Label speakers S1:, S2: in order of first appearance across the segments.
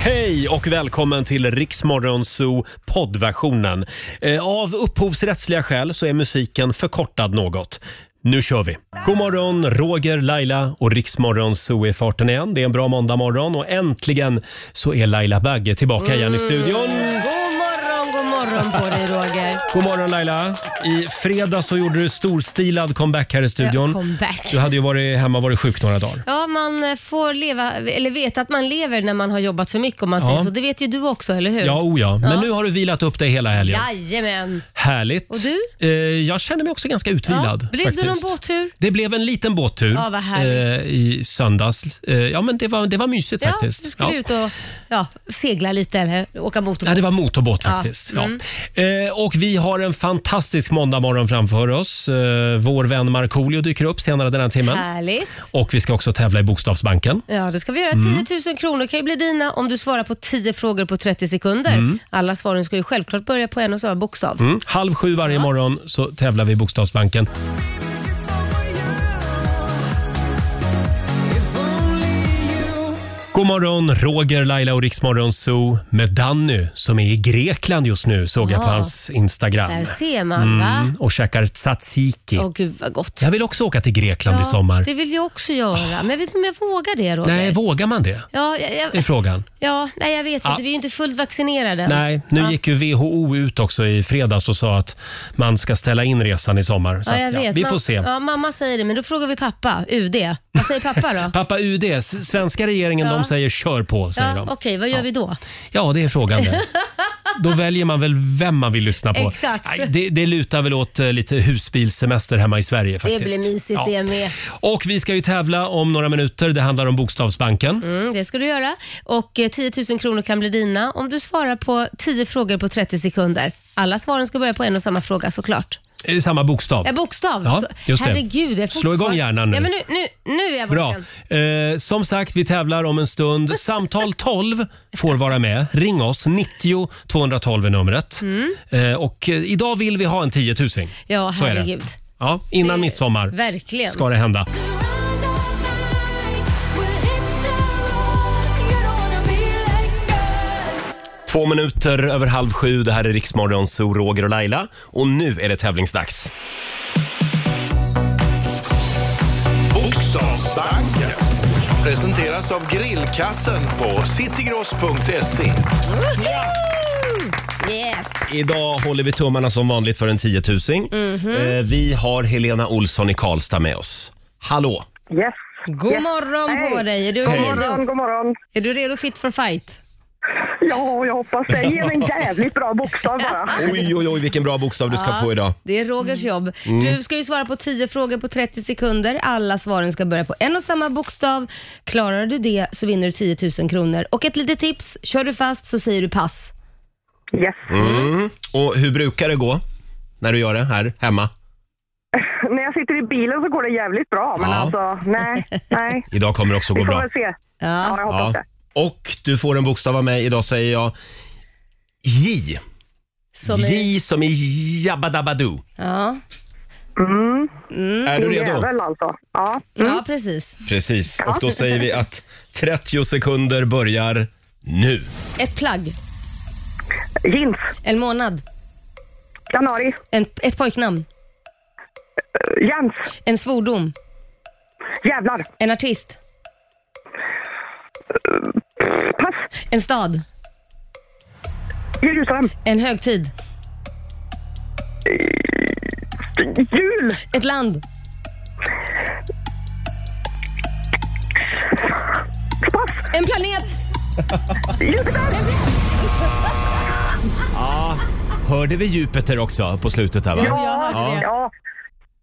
S1: Hej och välkommen till Riksmorgon Zoo poddversionen. Eh, Av upphovsrättsliga skäl så är musiken förkortad något. Nu kör vi! God morgon, Roger, Laila och Riksmorgon Zoo är i farten igen. Det är en bra måndagmorgon och äntligen så är Laila Bagge tillbaka
S2: Mm.
S1: igen i studion.
S2: God morgon, god morgon på dig Roger.
S1: God morgon Laila! I fredags så gjorde du storstilad comeback här i
S2: Ja,
S1: studion.
S2: comeback.
S1: Du hade ju varit hemma och varit sjuk några dagar.
S2: Ja, man eh, får leva, eller veta att man lever när man har jobbat för mycket om man
S1: Ja.
S2: säger så. Det vet ju du också, eller hur?
S1: Ja, oh ja. Men nu har du vilat upp dig hela helgen.
S2: Jajamän.
S1: Härligt.
S2: Och du?
S1: Eh, jag känner mig också ganska utvilad.
S2: Blev
S1: faktiskt.
S2: det någon båttur?
S1: Det blev en liten båttur
S2: Ja, vad härligt.
S1: eh, i söndags. Eh, ja, men det var, det var mysigt faktiskt.
S2: Ja, du skulle
S1: Ja.
S2: ut och ja, segla lite eller åka mm. motorbåt.
S1: Nej, det var motorbåt faktiskt. Ja. Eh, och vi har en fantastisk måndagmorgon framför oss. Eh, vår vän Markoolio dyker upp senare den här timmen.
S2: Härligt.
S1: Och vi ska också tävla i Bokstavsbanken.
S2: Ja, det ska vi göra.
S1: Mm.
S2: 10 000 kronor kan ju bli dina om du svarar på 10 frågor på 30 sekunder. Alla svaren ska ju självklart börja på en och samma bokstav.
S1: Mm. Halv sju varje morgon så tävlar vi i Bokstavsbanken. God morgon, Roger, Laila och Riksmorgon Zoo med Danny som är i Grekland just nu såg jag på
S2: Ja.
S1: hans Instagram.
S2: Där ser man va?
S1: Mm, och käkar tzatziki.
S2: Åh gud vad gott.
S1: Jag vill också åka till Grekland i
S2: Ja,
S1: sommar.
S2: Det vill jag också göra, men jag vet inte om jag vågar det Roger.
S1: Nej, vågar man det?
S2: Ja, jag, jag,
S1: Det är frågan.
S2: ja, nej, jag vet
S1: Ja.
S2: inte. Vi är ju inte fullt vaccinerade.
S1: Nej, nu gick ju WHO ut också i fredags och sa att man ska ställa in resan i sommar. Så
S2: Ja,
S1: att,
S2: jag
S1: ja,
S2: vet.
S1: Vi
S2: Ma-
S1: får se.
S2: Ja, mamma säger det, men då frågar vi pappa, UD. Vad säger pappa då?
S1: Pappa UD, s- svenska regeringen,
S2: Ja.
S1: de säger kör på, säger
S2: ja,
S1: de.
S2: Okej, vad gör
S1: Ja.
S2: vi då?
S1: Ja, det är frågan det. Då väljer man väl vem man vill lyssna på.
S2: Exakt.
S1: Nej, det, det lutar väl åt eh, lite husbilsemester hemma i Sverige faktiskt.
S2: Det blir mysigt
S1: Ja.
S2: det med.
S1: Och vi ska ju tävla om några minuter. Det handlar om Bokstavsbanken.
S2: Mm, det ska du göra. Och eh, 10 000 kronor kan bli dina om du svarar på 10 frågor på 30 sekunder. Alla svaren ska börja på en och samma fråga såklart.
S1: Är det Eh, Samma bokstav.
S2: Ja, bokstav.
S1: Ja,
S2: Så-
S1: just det.
S2: Herregud, jag får
S1: Slå
S2: inte
S1: igång
S2: svar.
S1: hjärnan nu.
S2: Ja, men nu, nu, nu är jag
S1: Bra.
S2: vaken.
S1: Eh, som sagt, vi tävlar om en stund. Samtal 12 får vara med. Ring oss. 90 212 är numret. Eh, och eh, idag vill vi ha en 10 000.
S2: Mm. Ja,
S1: Så är det.
S2: herregud.
S1: Ja, innan
S2: Det-
S1: midsommar
S2: verkligen.
S1: ska det hända. Två minuter över halv sju. Det här är Riksmorgon, så Roger och Laila. Och nu är det tävlingsdags.
S3: Bokstavsbanken presenteras av grillkassen på citygross.se.
S2: Yes.
S1: Idag håller vi tummarna som vanligt för en 10 000.
S2: Mhm.
S1: eh, vi har Helena Olsson i Karlstad med oss. Hallå!
S4: Yes.
S2: God morgon på dig. Är du
S4: God
S2: redo?
S4: morgon, god morgon.
S2: Är du redo fit for fight?
S4: Ja, jag hoppas det. Ge mig en jävligt bra bokstav bara.
S1: Oj, oj, oj, vilken bra bokstav du ska få idag. Mm.
S2: Det är Rogers jobb. Du ska ju svara på 10 frågor på 30 sekunder. Alla svaren ska börja på en och samma bokstav. Klarar du det så vinner du 10 000 kronor. Och ett litet tips. Kör du fast så säger du pass.
S4: Yes.
S1: Mm. Och hur brukar det gå när du gör det här hemma?
S4: När jag sitter i bilen så går det jävligt bra, men
S1: Ja.
S4: alltså nej, nej.
S1: Idag kommer det också
S4: Vi
S1: gå
S4: får
S1: bra.
S4: väl se. Ja,
S2: Ja.
S4: jag hoppas det.
S1: Och du får en bokstav av mig. Idag säger jag J.
S2: Som är,
S1: J som i Jabba Dabba Doo.
S2: ja. Mm.
S1: Är du
S4: Min
S1: redo?
S4: Mm. Jävel alltså. Ja.
S2: ja, precis.
S1: Precis. Och då säger vi att 30 sekunder börjar nu.
S2: Ett plagg.
S4: Jeans.
S2: En månad.
S4: Janari.
S2: En, ett pojknamn.
S4: eh, Jens.
S2: En svordom.
S4: Jävlar.
S2: En artist.
S4: Eh, Pass.
S2: En stad.
S4: Jerusalem.
S2: En högtid.
S4: Eh, Jul.
S2: Ett land.
S4: Pass.
S2: En planet.
S4: Jupiter.
S1: Hörde vi Jupiter också på slutet här va?
S2: Ja. Jag hörde det.
S4: Ja.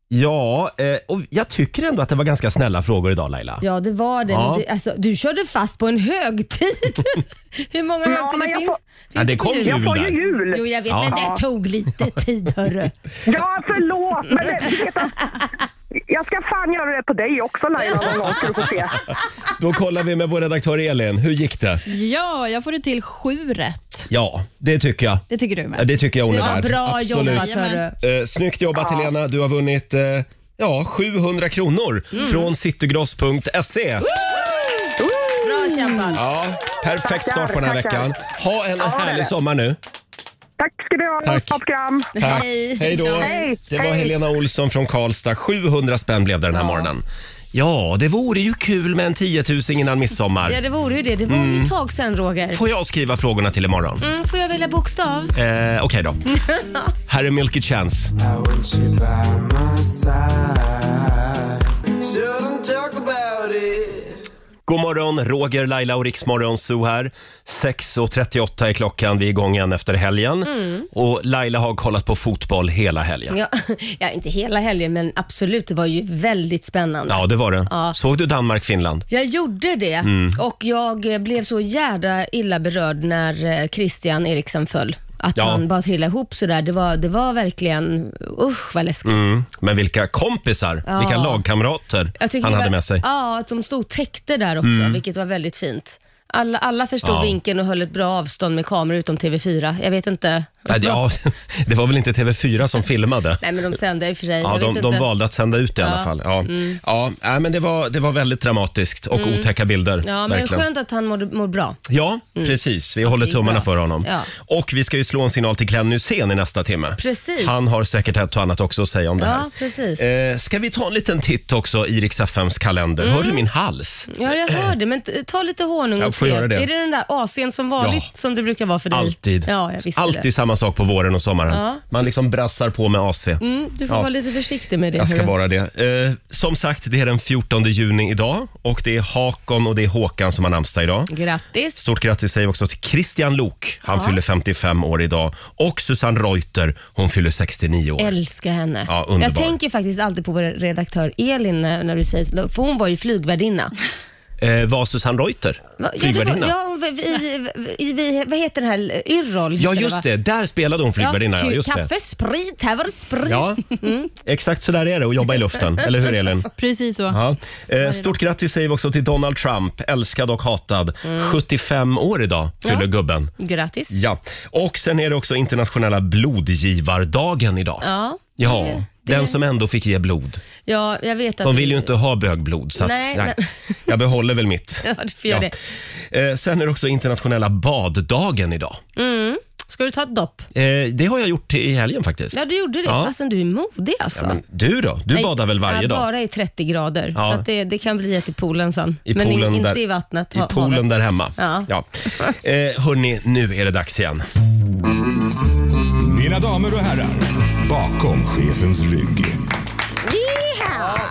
S1: Ja, eh, och jag tycker ändå att det var ganska snälla frågor idag Laila.
S2: Ja, det var det.
S1: Ja.
S2: Men Du, alltså, du körde fast på en högtid. Hur många
S4: men
S2: högtider
S4: jag
S2: finns,
S4: får-
S2: finns
S1: Ja, det
S2: på
S1: kom
S2: jul?
S1: ju.
S4: Jag får ju
S1: Jul
S4: jul.
S2: Jo, jag vet,
S1: Ja.
S2: men det tog lite tid, hörru.
S4: Ja, förlåt. Men det- du vet att- jag ska fan göra det på dig också Laila någon gång ska du få se.
S1: Då kollar vi med vår redaktör Elin. Hur gick det?
S5: Ja, jag får det till sju rätt.
S1: Ja, det tycker jag.
S5: Det tycker du med?
S1: Ja, Det tycker jag hon är
S2: Ja,
S1: värd.
S2: bra jobbat,
S5: Jajamän.
S2: hörru.
S1: Eh, snyggt jobbat Helena. Du har vunnit eh,
S2: Mm.
S1: ja, 700 kronor från citygross.se.
S2: Bra kämpat.
S1: Ja, perfekt start på den här
S4: Tackar,
S1: veckan. Ha
S4: Ja,
S1: en
S4: det är det.
S1: härlig sommar nu.
S4: Tack ska du ha.
S1: Tack.
S4: Tack. program.
S1: Tack.
S2: Hej.
S1: Hej då.
S4: Hej.
S1: Det var
S4: Hej.
S1: Helena Olsson från Karlstad. 700 spänn blev det den här morgonen. Ja, det vore ju kul med en 10 000 innan midsommar.
S2: Ja, det vore ju det. Det var ju ett tag sedan, Roger.
S1: Mm. Får jag skriva frågorna till imorgon?
S2: Mm, får jag välja bokstav?
S1: Eh, Okej då. Här är Milky Chance. God morgon, Roger, Laila och Riksmorgon Zoo här. 6.38 är klockan, vi är igång igen efter helgen.
S2: Mm.
S1: Och Laila har kollat på fotboll hela helgen.
S2: Ja, ja, inte hela helgen, men absolut. Det var ju väldigt spännande.
S1: Ja, det Mm. var det.
S2: Ja.
S1: Såg du Danmark-Finland?
S2: Jag gjorde det och jag eh, blev så jävla illa berörd när eh, Christian Eriksen föll. Att
S1: Ja.
S2: han bara trillade ihop sådär. Det var, det var verkligen, usch vad läskigt.
S1: Mm. Men vilka kompisar,
S2: Ja.
S1: vilka lagkamrater
S2: Jag tycker
S1: han
S2: det
S1: hade
S2: var,
S1: med sig. Mm.
S2: Ja, att de stod och täckte där också, vilket var väldigt fint. Alla, alla förstod
S1: Ja.
S2: vinkeln och höll ett bra avstånd med kameror utom TV4. Jag vet inte.
S1: Nej, det- Ja, det var väl inte TV4 som filmade?
S2: Nej, men de sände i och för sig.
S1: Ja,
S2: jag
S1: de,
S2: vet
S1: de
S2: inte. Mm.
S1: valde att sända ut det i alla fall. Ja. Ja, nej, men det, var, det var väldigt dramatiskt och otäcka bilder.
S2: Ja, men det är
S1: verkligen.
S2: skönt att han mår, mår bra.
S1: Ja, precis. Vi håller
S2: det är
S1: tummarna
S2: Mm. bra.
S1: för honom.
S2: Ja.
S1: Och vi ska ju slå en signal till Glenn Hysén i nästa timme.
S2: Precis.
S1: Han har säkert ett och annat också att säga om det
S2: Ja,
S1: här.
S2: precis.
S1: Eh, ska vi ta en liten titt också i Rix FMs kalender? Hör du min hals?
S2: Mm. Ja, jag hör det, men t- ta lite honung
S1: eh. Jag
S2: och
S1: får
S2: te.
S1: göra det.
S2: Är det den där AC'n som vanligt
S1: Ja.
S2: som det brukar vara för dig?
S1: Alltid.
S2: Ja, jag visste
S1: Alltid
S2: det.
S1: samma sak på våren och sommaren.
S2: Ja.
S1: Man liksom brassar på med AC.
S2: Mm, du får
S1: Ja.
S2: vara lite försiktig med det.
S1: Jag ska
S2: hörru.
S1: vara det. Eh, som sagt, det är den 14 juni idag och det är Hakon och det är Håkan som har namnsdag idag.
S2: Grattis.
S1: Stort grattis säger vi också till Christian Lok. Han fyller 55 år idag. Och Susanne Reuter, hon fyller 69 år.
S2: Älskar henne.
S1: Ja, underbar.
S2: jag tänker faktiskt alltid på vår redaktör Elin när, när du säger så, för hon var ju flygvärdinna.
S1: Eh, var Susanne Reuter
S2: Va- ja, det var-
S1: flygvärdinna? Ja,
S2: Ja, hon var- i, i, i, vad heter den här, eh, Yrrol? heter va?
S1: just det. Där spelade hon flygvärdinna. Ja,
S2: ku-
S1: just det.
S2: Kaffe, sprit, här var det sprit.
S1: Ja, exakt så där är det att jobba i luften. Eller hur Elin?
S5: Mm. Precis så.
S1: Ja. Eh, stort grattis säger vi också till Donald Trump, älskad och hatad.
S2: Mm.
S1: 75 år idag fyller gubben.
S2: Grattis.
S1: Ja, och sen är det också internationella blodgivardagen idag.
S2: Ja.
S1: Ja,
S2: det-
S1: den som ändå fick ge blod.
S2: Ja, jag vet att...
S1: De vill ju inte ha bögblod så att, nej,
S2: Nej, men-
S1: jag behåller väl mitt.
S2: Ja, du får göra det.
S1: Eh, sen är det också internationella baddagen idag.
S2: Mm. Ska du ta ett dopp?
S1: Eh, det har jag gjort i helgen faktiskt.
S2: Ja, du gjorde det.
S1: Ja.
S2: Fastän du är modig alltså.
S1: Men du då? Du badar väl varje
S2: ja,
S1: dag?
S2: Bara i 30 grader,
S1: Ja.
S2: så att det, det kan bli ett i poolen sen.
S1: I
S2: Men i,
S1: poolen
S2: inte
S1: där-
S2: i vattnet.
S1: I
S2: ha-
S1: poolen
S2: havet.
S1: där hemma.
S2: Ja.
S1: Ja. Eh, hörni, nu är det dags igen.
S6: Mina damer och herrar, bakom chefens rygg.
S2: Yeehaw!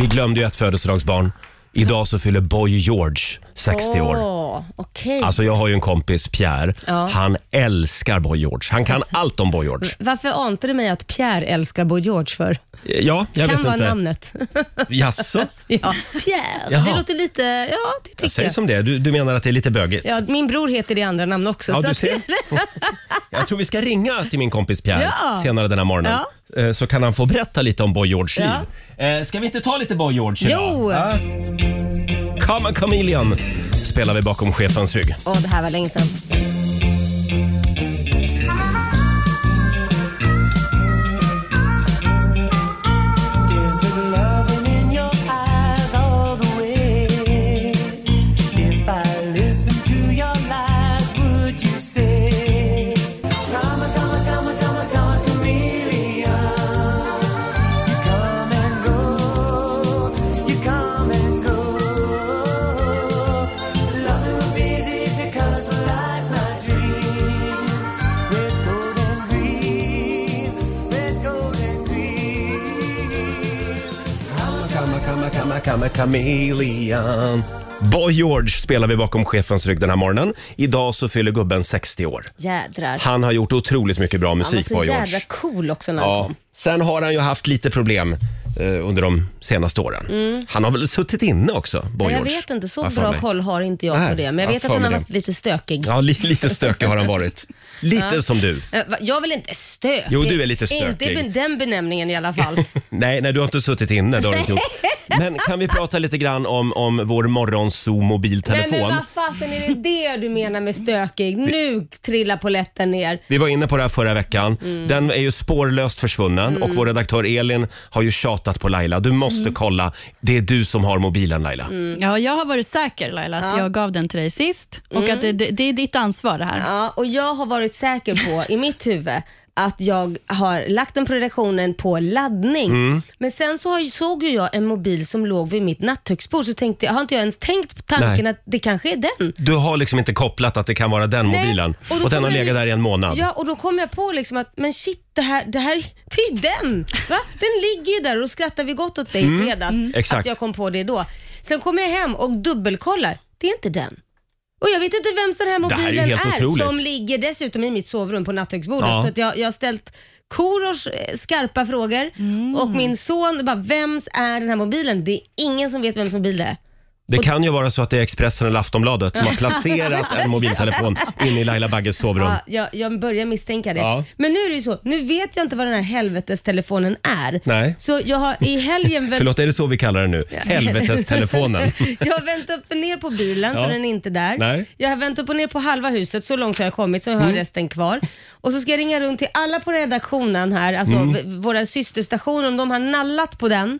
S1: Vi glömde ju ett födelsedagsbarn. Idag så fyller Boy George 60 år.
S2: Åh, okej.
S1: Alltså jag har ju en kompis, Pierre.
S2: Ja.
S1: Han älskar Boy George. Han kan allt om Boy George.
S2: Varför ante det mig att Pierre älskar Boy George för?
S1: Ja, jag
S2: kan
S1: vet
S2: vara
S1: inte.
S2: namnet.
S1: Jaså?
S2: ja. Pierre,
S1: Jaha.
S2: det låter lite... Ja, det
S1: Jag
S2: tycker
S1: säger
S2: jag.
S1: som det är. Du, du menar att det är lite bögigt?
S2: Ja, min bror heter det i andra namn också.
S1: Ja,
S2: så
S1: du
S2: att-
S1: ser. Jag tror vi ska ringa till min kompis Pierre
S2: Ja.
S1: senare den här morgonen. Eh, Så kan han få berätta lite om Boy Georges
S2: Ja.
S1: liv. Eh, Ska vi inte ta lite Boy George idag?
S2: Jo!
S1: Ja. Come a Chameleon spelar vi bakom chefens rygg.
S2: Åh, det här var länge sedan.
S1: Chameleon. Boy George spelar vi bakom chefens rygg den här morgonen. Idag så fyller gubben 60 år.
S2: Jädrar.
S1: Han har gjort otroligt mycket bra
S2: Han var
S1: musik,
S2: så
S1: Boy
S2: jädra
S1: George.
S2: cool också när han
S1: Ja.
S2: kom.
S1: Sen har han ju haft lite problem eh, under de senaste åren. Han har väl suttit inne också, Boy
S2: Men Mm. jag
S1: George.
S2: vet inte, så
S1: Har jag för
S2: bra
S1: mig.
S2: koll har inte jag
S1: Nej,
S2: på det. Men jag
S1: jag
S2: vet
S1: har
S2: att han
S1: för
S2: har
S1: mig
S2: varit lite stökig.
S1: Ja, li- lite stökig har han varit. Lite som du.
S2: Eh, va? Jag är väl inte stökig?
S1: Jo, du är lite stökig.
S2: Inte ben- den benämningen i alla fall.
S1: Nej, nej, du har inte suttit inne. Det har du inte gjort. Men kan vi prata lite grann om, om vår
S2: Nej
S1: morgonzoo-mobiltelefon?
S2: men vad fasen är det det du menar med stökig? Nu trillar poletten ner.
S1: Vi var inne på det här förra veckan. Den är ju spårlöst försvunnen och vår redaktör Elin har ju tjatat på Laila. Du måste kolla. Det är du som har mobilen Laila.
S5: Ja, jag har varit säker Laila, att jag gav den till dig sist och att det, det, det är ditt ansvar det här.
S2: Ja, och jag har varit säker på i mitt huvud att jag har lagt den på redaktionen på laddning. Men sen så har, såg ju jag en mobil som låg vid mitt nattduksbord så tänkte jag, har inte jag ens tänkt på tanken
S1: Nej.
S2: att det kanske är den?
S1: Du har liksom inte kopplat att det kan vara den mobilen.
S2: då
S1: Och, den
S2: kommer
S1: har
S2: jag-
S1: legat där i en månad.
S2: Ja, och då kom jag på liksom att men shit, det här, det här det är ju den. Va? Den ligger ju där och då skrattar vi gott åt dig i fredags
S1: Mm. Exakt.
S2: att jag kom på det då. Sen kommer jag hem och dubbelkollar. Det är inte den. Och jag vet inte vems den här
S1: Det här är ju
S2: mobilen
S1: helt
S2: är,
S1: otroligt.
S2: som ligger dessutom i mitt sovrum på nattduksbordet.
S1: Ja.
S2: Så att jag, jag har ställt Korosh eh, skarpa frågor och min son bara, vems är den här mobilen? Det är ingen som vet vems mobil det är.
S1: Det kan ju vara så att det är Expressen eller Aftonbladet som har placerat en mobiltelefon inne i Laila Bagges sovrum.
S2: Ja, jag, jag börjar misstänka det.
S1: Ja.
S2: Men nu är det ju så, nu vet jag inte vad den här helvetestelefonen är.
S1: Nej.
S2: Så jag har i helgen vänt,
S1: Förlåt, är det så vi kallar den nu? Helvetestelefonen.
S2: jag har vänt upp och ner på bilen
S1: Ja.
S2: så den är inte där.
S1: Nej. Mm.
S2: Jag har vänt upp och ner på halva huset, så långt har jag kommit så jag har resten kvar. Och så ska jag ringa runt till alla på redaktionen här, alltså
S1: Mm.
S2: v- våra systerstationer, om de har nallat på den.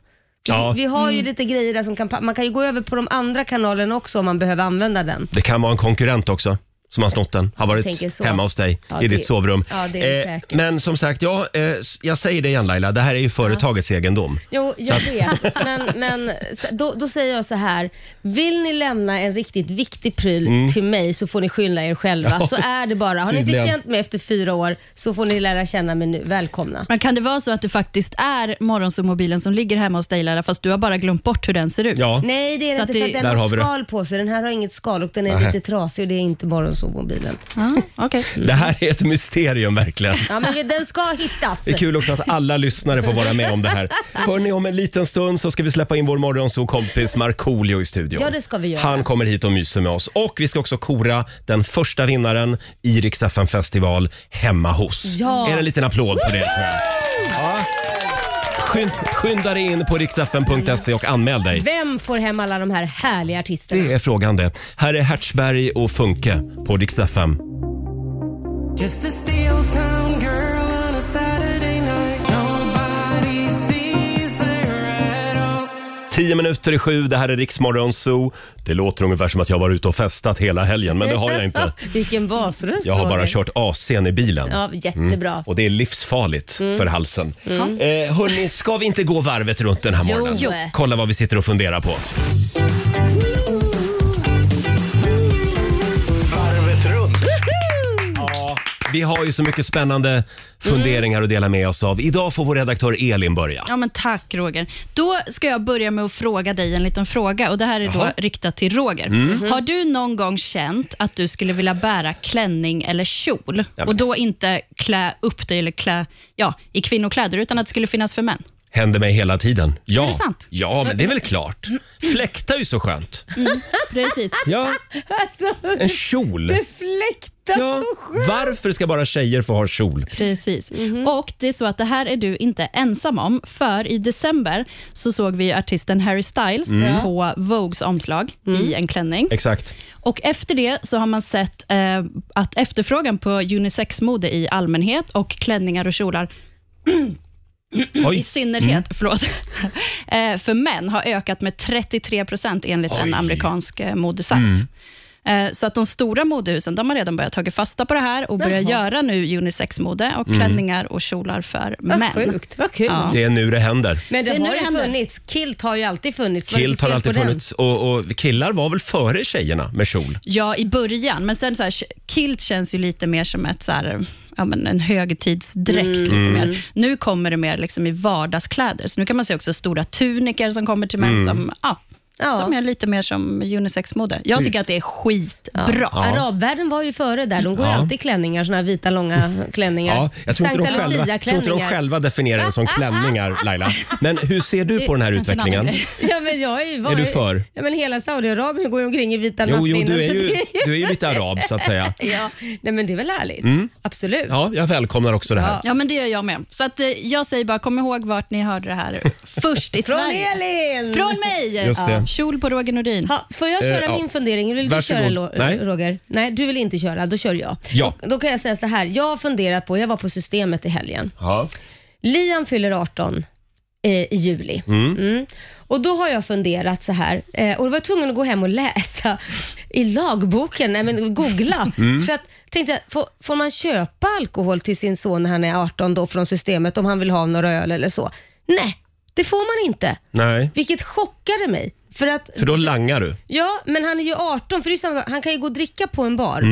S2: Vi,
S1: Ja. Mm.
S2: vi har ju lite grejer där som kan, pa- man kan ju gå över på de andra kanalerna också om man behöver använda den.
S1: Det kan vara en konkurrent också som har snott den. Har
S2: tänker
S1: varit
S2: så.
S1: hemma hos dig
S2: Ja,
S1: i
S2: det-
S1: ditt sovrum. Eh,
S2: ja, det är det säkert.
S1: men som sagt, ja, eh, s- jag säger det igen Laila. Det här är ju företagets egendom.
S2: Jo, jag vet. Men, men s- då, då säger jag så här. Vill ni lämna en riktigt viktig pryl till mig så får ni skylla er själva.
S1: Mm. Ja,
S2: så är det bara. Har ni inte
S1: tydligen.
S2: känt mig efter fyra år så får ni lära känna mig nu. Välkomna.
S5: Men kan det vara så att det faktiskt är morgonsovmobilen som ligger hemma hos dig Laila, fast du har bara glömt bort hur den ser ut?
S1: Ja.
S2: Nej, det är
S5: Så
S2: det
S5: att
S2: inte för
S5: det-
S2: att den
S1: Där
S2: har,
S1: har
S2: ett
S1: vi det.
S2: skal på sig. Den här har inget skal och den är
S1: Nähä.
S2: lite trasig och det är inte morgonsovmobilen.
S5: Ja, okej.
S1: Det här är ett mysterium verkligen.
S2: Ja, men vi- den ska hittas.
S1: Det är kul också att alla lyssnare får vara med om det här. Hörni, om en liten stund så ska vi släppa in vår morgonsåkompis Markoolio i studion.
S2: Ja, det ska vi göra.
S1: Han kommer hit och myser med oss. Och vi ska också kora den första vinnaren i Rix FM festival hemma hos.
S2: Ja.
S1: Är det en liten applåd på det? tror jag? Ja. Skynd, skynda dig in på riksfm.se och anmäl dig.
S2: Vem får hem alla de här härliga artisterna?
S1: Det är frågan det. Här är Hertzberg och Funke på Rix FM.
S7: Just a steel town girl on a Saturday night. Nobody sees her at all.
S1: Tio minuter i sju, det här är Riksmorgon Zoo. Det låter ungefär som att jag har varit ute och festat hela helgen, men det har jag inte.
S2: Vilken basröst
S1: Jag har bara
S2: Roger.
S1: kört AC'n i bilen. Mm.
S2: Ja, jättebra. Mm.
S1: Och det är livsfarligt för halsen. Eh, hörni, ska vi inte gå varvet runt den här
S2: Jo.
S1: morgonen?
S2: Jo.
S1: Kolla vad vi sitter och funderar på.
S3: Varvet runt.
S1: Vi har ju så mycket spännande funderingar att dela med oss av. Idag får vår redaktör Elin börja.
S5: Ja, men tack Roger. Då ska jag börja med att fråga dig en liten fråga och det här är
S1: Jaha. Mm.
S5: då riktat till Roger.
S2: Mhm.
S5: Har du någon gång känt att du skulle vilja bära klänning eller kjol
S1: men-
S5: och då inte klä upp dig eller klä ja, i kvinnokläder utan att det skulle finnas för män?
S1: Händer mig hela tiden. Ja.
S5: Är det sant?
S1: Ja, men det är väl klart. Fläktar ju så skönt.
S5: Precis.
S1: Ja,
S2: Mm. Alltså,
S1: en kjol.
S2: det fläktas
S1: Ja.
S2: så skönt.
S1: Varför ska bara tjejer få ha kjol?
S5: Precis.
S2: Mhm.
S5: Och det är så att det här är du inte ensam om, för i december så såg vi artisten Harry Styles
S1: Mm.
S5: på Vogues omslag i
S2: Mm.
S5: en klänning.
S1: Exakt.
S5: Och efter det så har man sett eh, att efterfrågan på unisexmode i allmänhet och klänningar och kjolar i
S1: Oj. Mm.
S5: synnerhet, förlåt, eh, för män har ökat med 33 procent enligt
S1: Oj. Mm.
S5: en amerikansk eh, modesajt. Eh, Så att de stora modehusen de har redan börjat ta fasta på det här och börjar göra nu unisexmode och klänningar och kjolar för män.
S2: Vad sjukt, vad kul.
S5: Ja.
S1: Mm. Det är nu det händer.
S2: Men det,
S5: Det är nu
S2: har
S5: det
S2: ju
S5: händer.
S2: funnits. Kilt har ju alltid funnits. Vad är det
S1: Kilt
S2: för
S1: har
S2: fel
S1: alltid
S2: på den?
S1: funnits och, och killar var väl före tjejerna med kjol?
S5: Ja, i början. Men sen så här, kilt känns ju lite mer som ett så här, ja, men en högtidsdräkt.
S1: Mm.
S5: Lite mer. Nu
S1: Mm.
S5: kommer det mer liksom i vardagskläder. Så nu kan man se också stora tuniker som kommer till män som ja,
S2: Ja.
S5: som är lite mer som unisexmode.
S1: Mm.
S5: Jag tycker att det är skitbra.
S2: Arabvärlden var ju före där. De går ju
S1: Ja.
S2: alltid i klänningar, såna här vita långa klänningar.
S1: Ja, jag tror inte, de
S2: Sankta
S1: själva, jag tror inte de
S2: Lucia-klänningar.
S1: själva definierar det som klänningar, Laila. Men hur ser du på den här
S5: kanske en annan
S1: utvecklingen?
S5: grej.
S2: Ja, men jag är, ju var,
S1: Är du för?
S2: Ja, men hela Saudiarabien går ju omkring i vita
S1: Jo, jo
S2: nattlinnen,
S1: du, är
S2: så
S1: ju,
S2: det-
S1: du är ju lite arab, så att säga.
S2: Ja, nej, men det är väl härligt? Absolut.
S1: Mm. Ja, jag välkomnar också det här.
S5: Ja, men det gör jag med. Så att, eh, jag säger bara, kom ihåg vart ni hörde det här först i
S2: Från
S5: Sverige.
S2: Elin!
S5: Från mig!
S1: Just det.
S5: Ja. Kjol på Roger Nordin.
S2: Ha, får jag köra
S1: Eh, ja.
S2: min fundering? Vill
S1: Varsågod.
S2: du köra Lo-
S1: Nej.
S2: Roger? Nej, du vill inte köra. Då kör jag.
S1: Ja.
S2: Då, då kan jag säga så här. Jag har funderat på, jag var på systemet i helgen.
S1: Ja.
S2: Liam fyller 18 eh, i juli. Mm. Och Då har jag funderat så här eh, och var jag tvungen att gå hem och läsa i lagboken, nej men googla. För att, tänkte jag, får, får man köpa alkohol till sin son när han är 18 då från systemet om han vill ha några öl eller så? Nej, det får man inte.
S1: Nej,
S2: Vilket chockade mig. För att,
S1: för då langar du.
S2: ja, men han är ju 18, för det är samma, sak, han kan ju gå och dricka på en
S1: Mm.
S2: bar.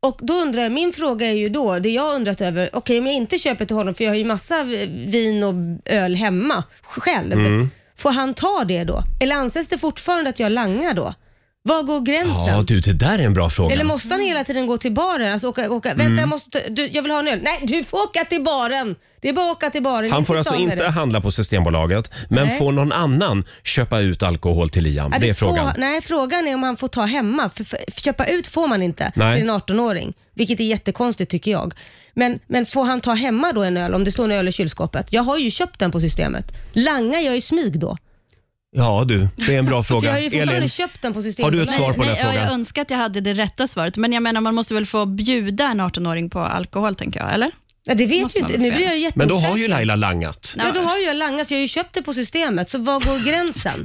S2: Och då undrar jag, min fråga är ju då, det jag har undrat över, okej om jag inte köper till honom, för jag har ju massa v- vin och öl hemma själv.
S1: Mm.
S2: Får han ta det då? Eller anses det fortfarande att jag langar då? Var går gränsen?
S1: Ja, du, det där är en bra fråga.
S2: Eller måste han hela tiden gå till baren? Alltså åka, åka,
S1: Mm.
S2: vänta, jag, måste, ta- du, jag vill ha en öl. Nej, du får åka till baren. Det är bara att åka till baren.
S1: Han
S2: in till
S1: får alltså
S2: stan med
S1: inte
S2: det.
S1: handla på Systembolaget, men
S2: Nej.
S1: får någon annan köpa ut alkohol till Liam?
S2: Ja,
S1: det är
S2: får-
S1: frågan.
S2: nej, frågan är om han får ta hemma. För, för, för köpa ut får man inte
S1: Nej.
S2: till en 18-åring, vilket är jättekonstigt tycker jag. Men, men får han ta hemma då en öl om det står en öl i kylskåpet? Jag har ju köpt den på systemet. Langar jag i smyg då?
S1: Ja, du, det är en bra
S2: För Alltså, jag
S1: fråga.
S2: har ju fortfarande
S1: Elin,
S2: köpt den på systemet.
S1: har du ett svar på den
S5: nej, ja, jag
S1: frågan?
S5: önskar att jag hade det rätta svaret, men jag menar man måste väl få bjuda en 18-åring på alkohol, tänker jag, eller?
S2: Ja, det vet
S5: Måste
S2: ju
S5: man
S2: inte.
S5: väl
S2: Nu
S5: få
S2: blir jag ju
S1: Men då har ju
S2: jätteosäker.
S1: Laila langat.
S2: Ja, då har ju jag langat för jag har ju köpt det på systemet. Så var går gränsen?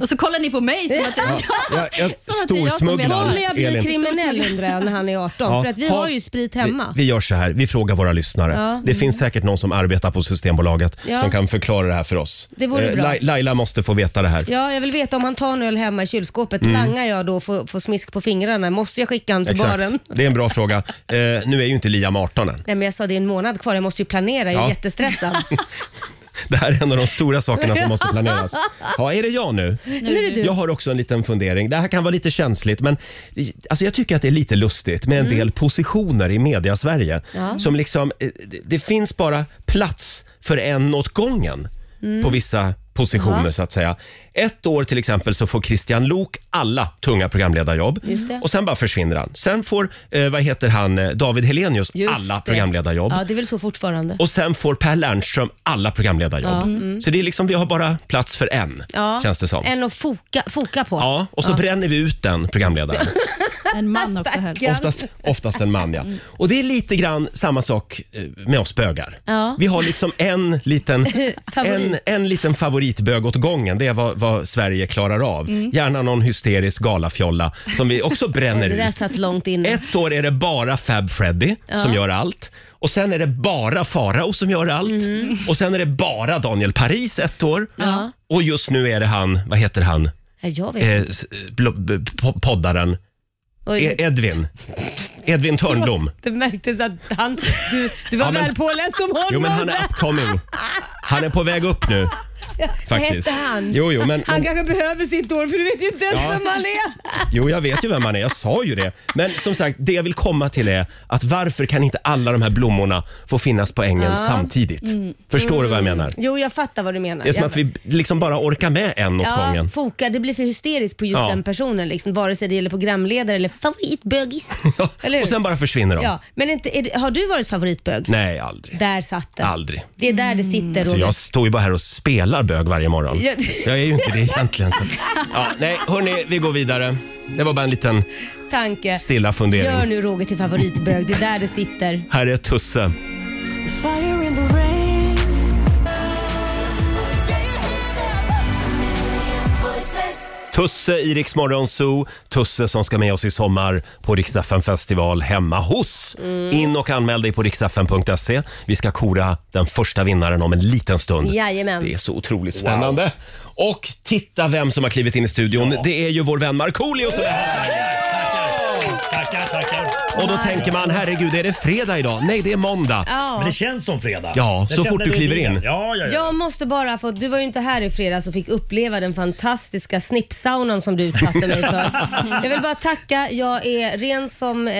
S5: Och så kollar ni på mig som att jag...
S1: Jag, jag
S5: Som att det är jag som
S1: storsmugglar,
S5: berättar.
S2: Kommer jag bli
S1: Elin.
S2: kriminell undrar jag när han är 18?
S1: Ja.
S2: För att vi
S1: Ha-
S2: har ju sprit hemma.
S1: Vi, vi gör så här, vi frågar våra lyssnare.
S2: Ja.
S1: Det finns säkert någon som arbetar på Systembolaget
S2: Ja.
S1: som kan förklara det här för oss.
S2: Det vore
S1: Eh,
S2: bra.
S1: Lai- Laila måste få veta det här.
S2: Ja, jag vill veta om han tar en öl hemma i kylskåpet.
S1: Mm.
S2: Langar jag då och får, får smisk på fingrarna? Måste jag skicka honom till baren?
S1: Det är en bra fråga. Eh, nu är ju inte Liam 18 än.
S2: Nej, men jag sa det är en månad kvar. Jag måste ju planera. Jag är
S1: Ja.
S2: jättestressad.
S1: Det här är en av de stora sakerna som måste planeras. Ja, är det jag nu?
S2: nu är det du.
S1: Jag har också en liten fundering. Det här kan vara lite känsligt, men alltså jag tycker att det är lite lustigt med en
S2: Mm.
S1: del positioner i media-Sverige. Som liksom, eh, det, det finns bara plats för en åt gången
S2: Mm.
S1: på vissa positioner så att säga. Ett år till exempel så får Christian Lok alla tunga programledarjobb
S2: Just det.
S1: och sen bara försvinner han. Sen får, eh, vad heter han, eh, David Helenius
S2: Just
S1: alla
S2: det.
S1: programledarjobb.
S2: Ja, det är väl så fortfarande.
S1: Och sen får Per Lernström alla programledarjobb. Så det är liksom, vi har bara plats för en,
S2: Mm. Ja.
S1: känns det som.
S2: En att foka, foka på.
S1: Ja, och så bränner vi ut den programledaren.
S5: En man också helst.
S2: Stackarn.
S1: Oftast, oftast en man, ja.
S2: Mm.
S1: Och det är lite grann samma sak eh, med oss bögar.
S2: Ja.
S1: Vi har liksom en liten,
S2: Favorit.
S1: en, en liten favoritbög åt gången. Det är vad, vad Sverige klarar av.
S2: Mm.
S1: Gärna någon hysterisk galafjolla som vi också bränner
S2: Det där
S1: ut.
S2: satt långt inne.
S1: Ett år är det bara Fab Freddy som gör allt. Och sen är det bara Farao som gör allt.
S2: Mm.
S1: Och sen är det bara Daniel Paris ett år. Och just nu är det han, vad heter han,
S2: Ja, jag vet.
S1: eh, s- bl- b- po- poddaren
S2: Oj,
S1: E- Edvin. Edvin Törnblom.
S2: Det märktes att han, du, du var
S1: Ja, men-
S2: väl påläst om honom.
S1: Jo men han är upcoming. Han är på väg upp nu faktiskt.
S2: Hette han?
S1: Jo, jo, men,
S2: Han
S1: men,
S2: kanske behöver sitt år för du vet ju inte ens
S1: Ja.
S2: vem han är.
S1: jo jag vet ju vem han är, jag sa ju det. Men som sagt, det jag vill komma till är att varför kan inte alla de här blommorna få finnas på ängen samtidigt?
S2: Mm.
S1: Förstår du vad jag menar?
S2: Jo, jag fattar vad du menar.
S1: Det är som
S2: Jag-
S1: att vi liksom bara orkar med en åt gången.
S2: Foka, det blir för hysteriskt på just
S1: Ja.
S2: den personen. Liksom, vare sig det gäller programledare eller favoritbögis.
S1: Ja,
S2: Eller hur?
S1: och sen bara försvinner de.
S2: ja, men inte, är, det- har du varit favoritbög?
S1: Nej, aldrig.
S2: Där satt den.
S1: Aldrig.
S2: Det är där det sitter
S1: Så
S2: Roger.
S1: jag står ju bara här och spelar bög varje morgon.
S2: Ja.
S1: Jag är ju inte det egentligen. Så. Ja, nej, hörni, vi går vidare. Det var bara en liten
S2: Tanke.
S1: stilla
S2: Gör
S1: fundering.
S2: nu Roger till favoritbög. Det är där det sitter.
S1: Här är Tusse.
S7: There's fire in the rain.
S1: Tusse i Rix Morgon Zoo. Tusse som ska med oss i sommar på Riksdagen festival hemma hos. In och anmäl dig på riksdagen.se. Vi ska kora den första vinnaren om en liten stund.
S2: Jajamän.
S1: Det är så otroligt spännande. Och titta vem som har klivit in i studion. Det är ju vår vän Markoolio som är här. Tackar.
S8: Tackar, tackar.
S1: Och då
S2: Nej.
S1: tänker man, herregud, är det fredag idag? Nej, det är måndag.
S2: Ja.
S8: Men det känns som fredag.
S1: Ja,
S8: Jag
S1: så
S8: känner
S1: fort du
S8: det i
S1: kliver in.
S8: ben. Ja, ja, ja.
S2: Jag måste bara få, du var ju inte här i fredags och fick uppleva den fantastiska snippsaunan som du utsatte mig för. Jag vill bara tacka, jag är ren som eh,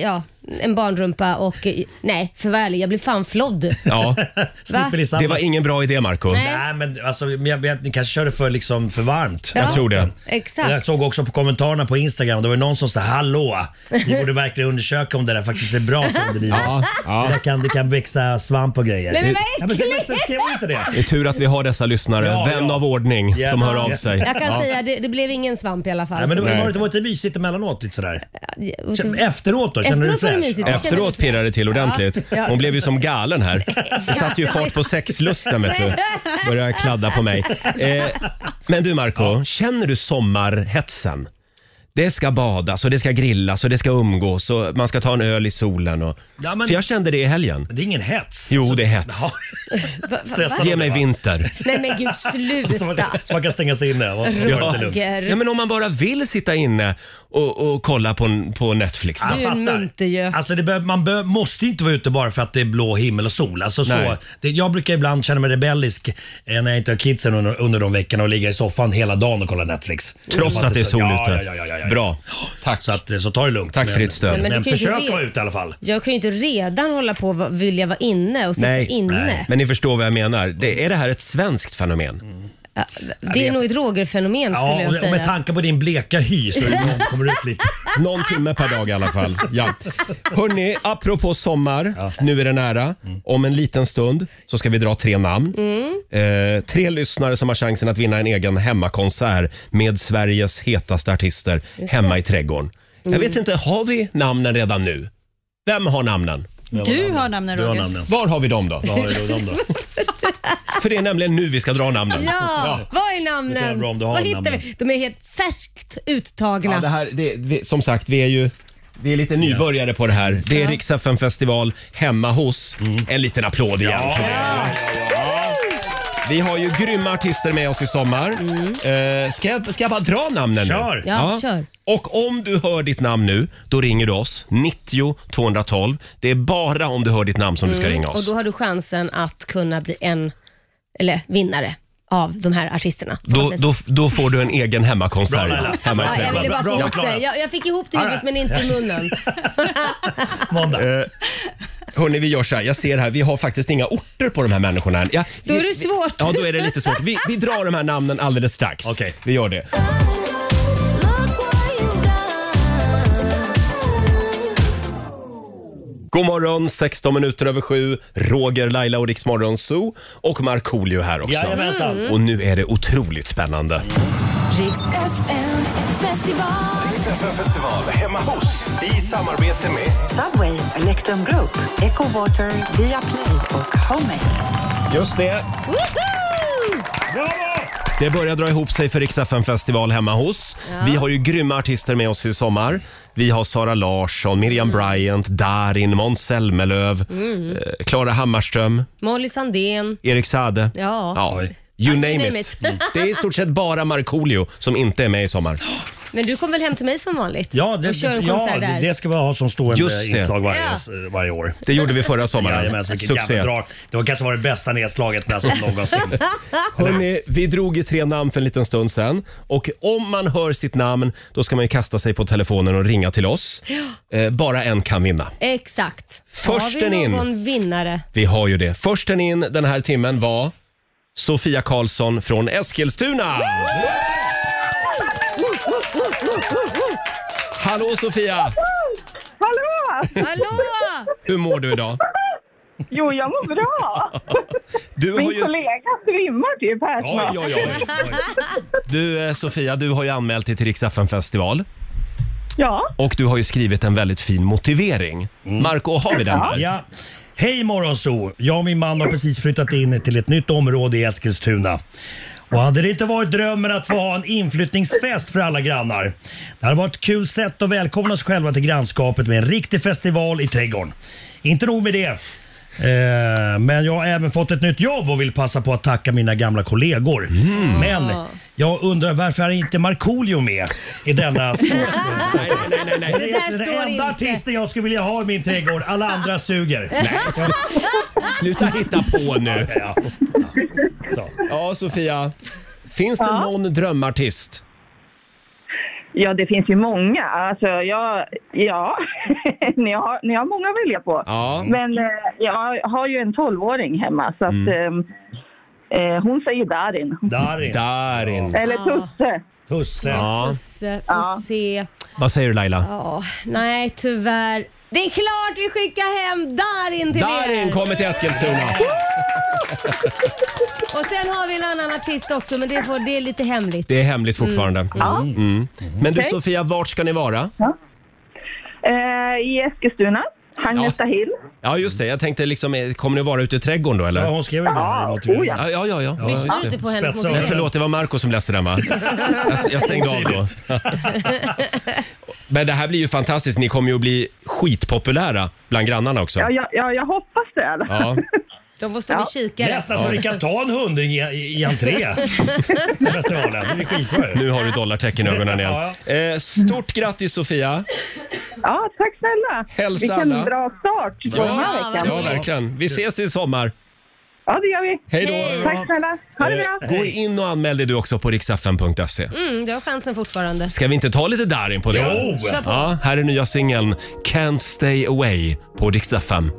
S2: ja, en barnrumpa och eh, nej, för vad ärlig, jag blir fan flodd.
S1: Ja,
S8: Snippelisabba.
S1: det var ingen bra idé, Marco.
S2: Nej.
S8: Nej, men alltså, men jag vet, ni kanske körde för, liksom, för varmt.
S1: Jag tror det.
S8: Jag
S2: Exakt.
S8: såg också på kommentarerna på Instagram, det var någon som sa “Hallå, ni borde verkligen undersöka om det där faktiskt är bra för individer.
S1: Ja,
S8: Det,
S1: ja.
S8: där kan, det kan växa svamp och grejer”.
S2: Nej, men vad
S8: ja, men sen, men sen
S2: äckligt!
S8: skrev inte det.
S1: Det är tur att vi har dessa lyssnare,
S8: Ja,
S1: vän
S8: ja.
S1: av ordning,
S8: Yes.
S1: som hör av
S8: Yes.
S1: sig.
S2: Jag kan säga, det, det blev ingen svamp i alla fall.
S8: Nej, men det, var,
S1: Nej.
S8: var, det, det var inte mysigt emellanåt lite sådär?
S2: Och så-
S8: Efteråt då? Känner du
S2: Efteråt var det
S8: dig fräsch?
S2: mysigt. Jag känner mig
S1: Efteråt
S2: fräsch.
S1: pirrade det till ordentligt.
S2: Ja.
S1: Hon blev ju som galen här. Det satte ju fart på sexlusten vet du. Började kladda på mig. Eh, men du Marco, känner du sommarhetsen? Det ska badas och det ska grillas och det ska umgås och man ska ta en öl i solen. Och...
S8: Ja, men-
S1: För jag kände det i helgen.
S8: Det är ingen hets.
S1: Jo, det är hets.
S8: Ja, stressad
S1: Ge
S8: av det,
S1: mig
S8: va?
S1: vinter.
S2: Nej men gud
S8: Så man,
S2: sluta.
S8: så man kan stänga sig inne och ta det lite lugnt.
S2: Roger.
S1: Ja, men om man bara vill sitta inne och, och kolla på, på Netflix.
S8: Jag
S2: Du är en
S8: fattar.
S2: muntergök.
S8: Alltså det bör, man bör, måste ju inte vara ute bara för att det är blå himmel och sol. Alltså
S1: Nej.
S8: så, det, jag brukar ibland känna mig rebellisk eh, när jag inte har kidsen under, under de veckorna och ligga i soffan hela dagen och kolla Netflix.
S1: Trots
S8: Man
S1: att det är
S8: ser så-
S1: sol
S8: ja,
S1: ute.
S8: Ja, ja, ja, ja, ja.
S1: Bra. Tack.
S8: Så, att, eh, så ta det lugnt.
S1: Tack för ditt stöd.
S8: Men,
S2: Men
S8: men,
S2: du kan ju
S8: försök
S2: inte
S8: att vara
S2: re-
S8: ute i alla fall.
S2: Jag kan ju inte redan hålla på och vilja vara inne och sitta
S1: Nej.
S2: inne.
S8: Nej.
S1: Men ni förstår vad jag menar. Det, är det här ett svenskt fenomen?
S2: Ja, Det är nog ett Roger-fenomen skulle
S8: Ja, och,
S2: jag
S8: och
S2: säga.
S8: med tanke på din bleka hy så är det någon som kommer ut lite.
S1: Någon timme per dag i alla fall. Ja. Hörni, apropå sommar. Nu är det nära. Om en liten stund så ska vi dra tre namn. Eh, tre lyssnare som har chansen att vinna en egen hemmakonsert med Sveriges hetaste artister hemma i trädgården. Jag vet inte, har vi namnen redan nu? Vem har namnen?
S5: Du har namnen
S8: Du har
S5: Roger.
S8: namnen.
S1: Var har vi dem då?
S8: Vad har du dem då?
S1: För det är nämligen nu vi ska dra namnen.
S2: Ja, vad är
S8: Det är
S2: namnen?
S8: bra om du har
S2: Vad hittar
S8: namnen.
S2: vi? De är helt färskt
S1: Ja,
S2: uttagna.
S1: det här, det, det, som sagt, vi är ju vi är lite nybörjare på det här. Det är ja. festival hemma hos.
S8: Mm.
S1: En liten applåd igen. för det. Vi har ju grymma artister med oss i sommar. Eh, ska, jag, ska jag bara dra namnen nu?
S8: Kör!
S2: Mm. Ja, kör.
S1: Och om du hör ditt namn nu, då ringer du oss. 90 212. Det är bara om du hör ditt namn som du ska ringa
S2: Mm. Och
S1: oss.
S2: då har du chansen att kunna bli en eller vinnare av de här artisterna. får man
S1: Då,
S2: säga så.
S1: då, då får du en egen
S8: Bra,
S1: hemmakonsert
S8: Laila.
S1: hemma i
S2: ja, jag
S1: trädgården.
S2: ville
S8: Bra,
S2: bara få
S8: bra
S2: ihop det.
S8: förklarat.
S2: Jag, jag fick ihop det i huvudet men inte i munnen.
S8: Måndag.
S1: Eh, Hörni, vi gör så här. Jag ser här, vi har faktiskt inga orter på de här människorna än. Ja,
S2: Då är
S1: vi-
S2: det svårt.
S1: Ja, då är det lite svårt. Vi, vi drar de här namnen alldeles strax.
S8: Okej.
S1: Vi gör det. God morgon, 16 minuter över sju. Roger, Laila och Rix Morgon Zoo och Markoolio här också. Mm.
S8: Jajamensan.
S1: Och nu är det otroligt spännande.
S9: Riks FM festival.
S3: festival hemma hos i samarbete med
S10: Subway, Electrum Group, Echo Water, Viaplay och Homemade.
S1: Just det.
S2: Woho!
S1: Det börjar dra ihop sig för Rix FM festival hemma hos. Vi har ju grymma artister med oss i sommar. Vi har Sara Larsson, Miriam
S2: Mm.
S1: Bryant, Darin, Måns Zelmerlöw, eh, Klara Hammarström,
S2: Molly Sandén.
S1: Erik Sade.
S2: Ja.
S1: Ja. You name,
S2: name
S1: it. Mm.
S2: it.
S1: Det är i stort sett bara Markoolio som inte är med i sommar.
S2: Men du kom väl hem till mig som vanligt?
S8: Ja, det,
S2: och kör en
S8: ja,
S2: konsert
S8: det-
S2: där.
S8: det ska vi ha som stående
S1: Just det.
S8: inslag varje,
S2: Ja.
S8: varje år.
S1: Det gjorde vi förra sommaren.
S8: Jajamensan, vilket
S1: Succé.
S8: jävla drag. Det var kanske var det bästa nedslaget med som någonsin.
S1: Hörrni, vi drog ju tre namn för en liten stund sen. Och om man hör sitt namn, då ska man ju kasta sig på telefonen och ringa till oss. Eh, bara en kan vinna.
S2: Exakt.
S1: Försten
S2: Har vi
S1: in.
S2: någon vinnare?
S1: Vi har ju det. Försten in den här timmen var Sofia Karlsson från Eskilstuna. Hallå Sofia!
S4: Hallå!
S2: Hallå!
S1: Hur mår du idag?
S4: Jo, jag mår bra.
S1: Du har
S4: Min
S1: ju...
S4: kollega svimmar typ här
S1: Oj,
S4: snart.
S1: oj, oj. Du eh, Sofia, du har ju anmält dig till Rix FM festival
S4: Ja,
S1: och du har ju skrivit en väldigt fin motivering.
S8: Mm.
S1: Marco, har vi den där?
S8: Ja. Hej Morgonzoo! Jag och min man har precis flyttat in till ett nytt område i Eskilstuna. Och hade det inte varit drömmen att få ha en inflyttningsfest för alla grannar? Det hade varit ett kul sätt att välkomna oss själva till grannskapet med en riktig festival i trädgården. Inte nog med det. Eh, men jag har även fått ett nytt jobb och vill passa på att tacka mina gamla kollegor.
S1: Mm.
S8: Men
S2: Ah.
S8: jag undrar varför är inte Markoolio med i denna stora...
S2: Det där
S8: är
S2: står
S8: den enda
S2: inte.
S8: artisten jag skulle vilja ha i min trädgård. Alla andra suger.
S1: Nej. Sluta hitta på nu.
S8: Ja,
S1: Ja, Sofia. Finns det
S11: Ja.
S1: någon drömartist?
S11: Ja, det finns ju många. Alltså, jag, ja, ni, har, ni har många att välja på.
S1: Ja.
S11: Men eh, jag har ju en tolvåring hemma, så att,
S1: Mm.
S11: eh, eh, hon säger Darin.
S8: Darin.
S1: Darin.
S11: Eller Tusse.
S8: Tusse.
S1: Ja.
S2: Tusse, får se.
S1: Vad säger du Laila?
S2: Ja, nej tyvärr. Det är klart vi skickar hem Darin till
S1: Darin
S2: er.
S1: kommer till Eskilstuna.
S2: Och sen har vi en annan artist också men det, får, det är lite hemligt.
S1: Det är hemligt fortfarande.
S2: Mm. Ja.
S1: Mm. Men du
S11: Okej.
S1: Sofia, vart ska ni vara?
S11: Eh, I Eskilstuna, Agnes Tahil.
S1: Ja, just det. Jag tänkte liksom, eh, kommer ni vara ute i trädgården då eller?
S8: Ja, hon skrev ju bara det. låter ju-
S11: oh ja.
S1: Ja, ja, ja. ja.
S2: Lyssna
S1: just
S2: inte
S1: det.
S2: på hennes
S8: Spetsa
S2: mobil.
S1: Nej, förlåt, det var Marco som läste den va? Jag, jag stängde av då. Men det här blir ju fantastiskt. Ni kommer ju att bli skitpopulära bland grannarna också.
S11: Ja, ja, ja, jag hoppas det. i alla fall.
S1: Ja.
S2: De får stå vid kikare.
S8: Nästan så ni kan ta en hundring i, i, i entré på festivalen. Det blir skitbra ju.
S1: Nu har du dollartecken i ögonen igen. Eh, stort grattis Sofia!
S11: Ja, tack snälla.
S1: Hälsa
S11: Vilken
S1: alla.
S11: bra start på den här
S2: Ja,
S11: veckan.
S1: Ja, verkligen. Vi ses i sommar.
S11: Ja, det gör vi.
S1: Hej
S2: Hej.
S1: då!
S11: Tack snälla. Ha det bra.
S1: Eh, Gå in och anmäl dig du också på riksfn.se.
S2: Mm, du har chansen fortfarande.
S1: Ska vi inte ta lite Darin på det?
S8: Jo!
S2: Kör på.
S1: Ja, här är nya singeln Can't Stay Away på Dixtafem.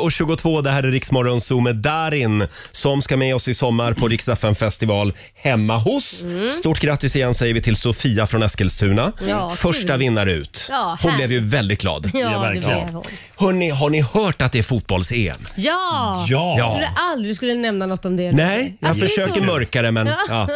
S1: och 22, det här är Riksmorgon Zoo med Darin som ska med oss i sommar på Riksdagen festival hemma hos. Stort grattis igen säger vi till Sofia från Eskilstuna.
S2: Mm. Ja, kul.
S1: Första vinnare ut.
S2: Ja,
S1: Hon
S2: här.
S1: blev ju väldigt glad.
S2: Ja, det
S8: verkligen.
S2: blev hon.
S1: Hörni, har ni hört att det är fotbolls-EM?
S2: Ja!
S8: Ja.
S2: Jag trodde aldrig du skulle nämna något om det.
S1: Nej, jag
S2: Att det är
S1: försöker
S2: så.
S1: mörka det men ja.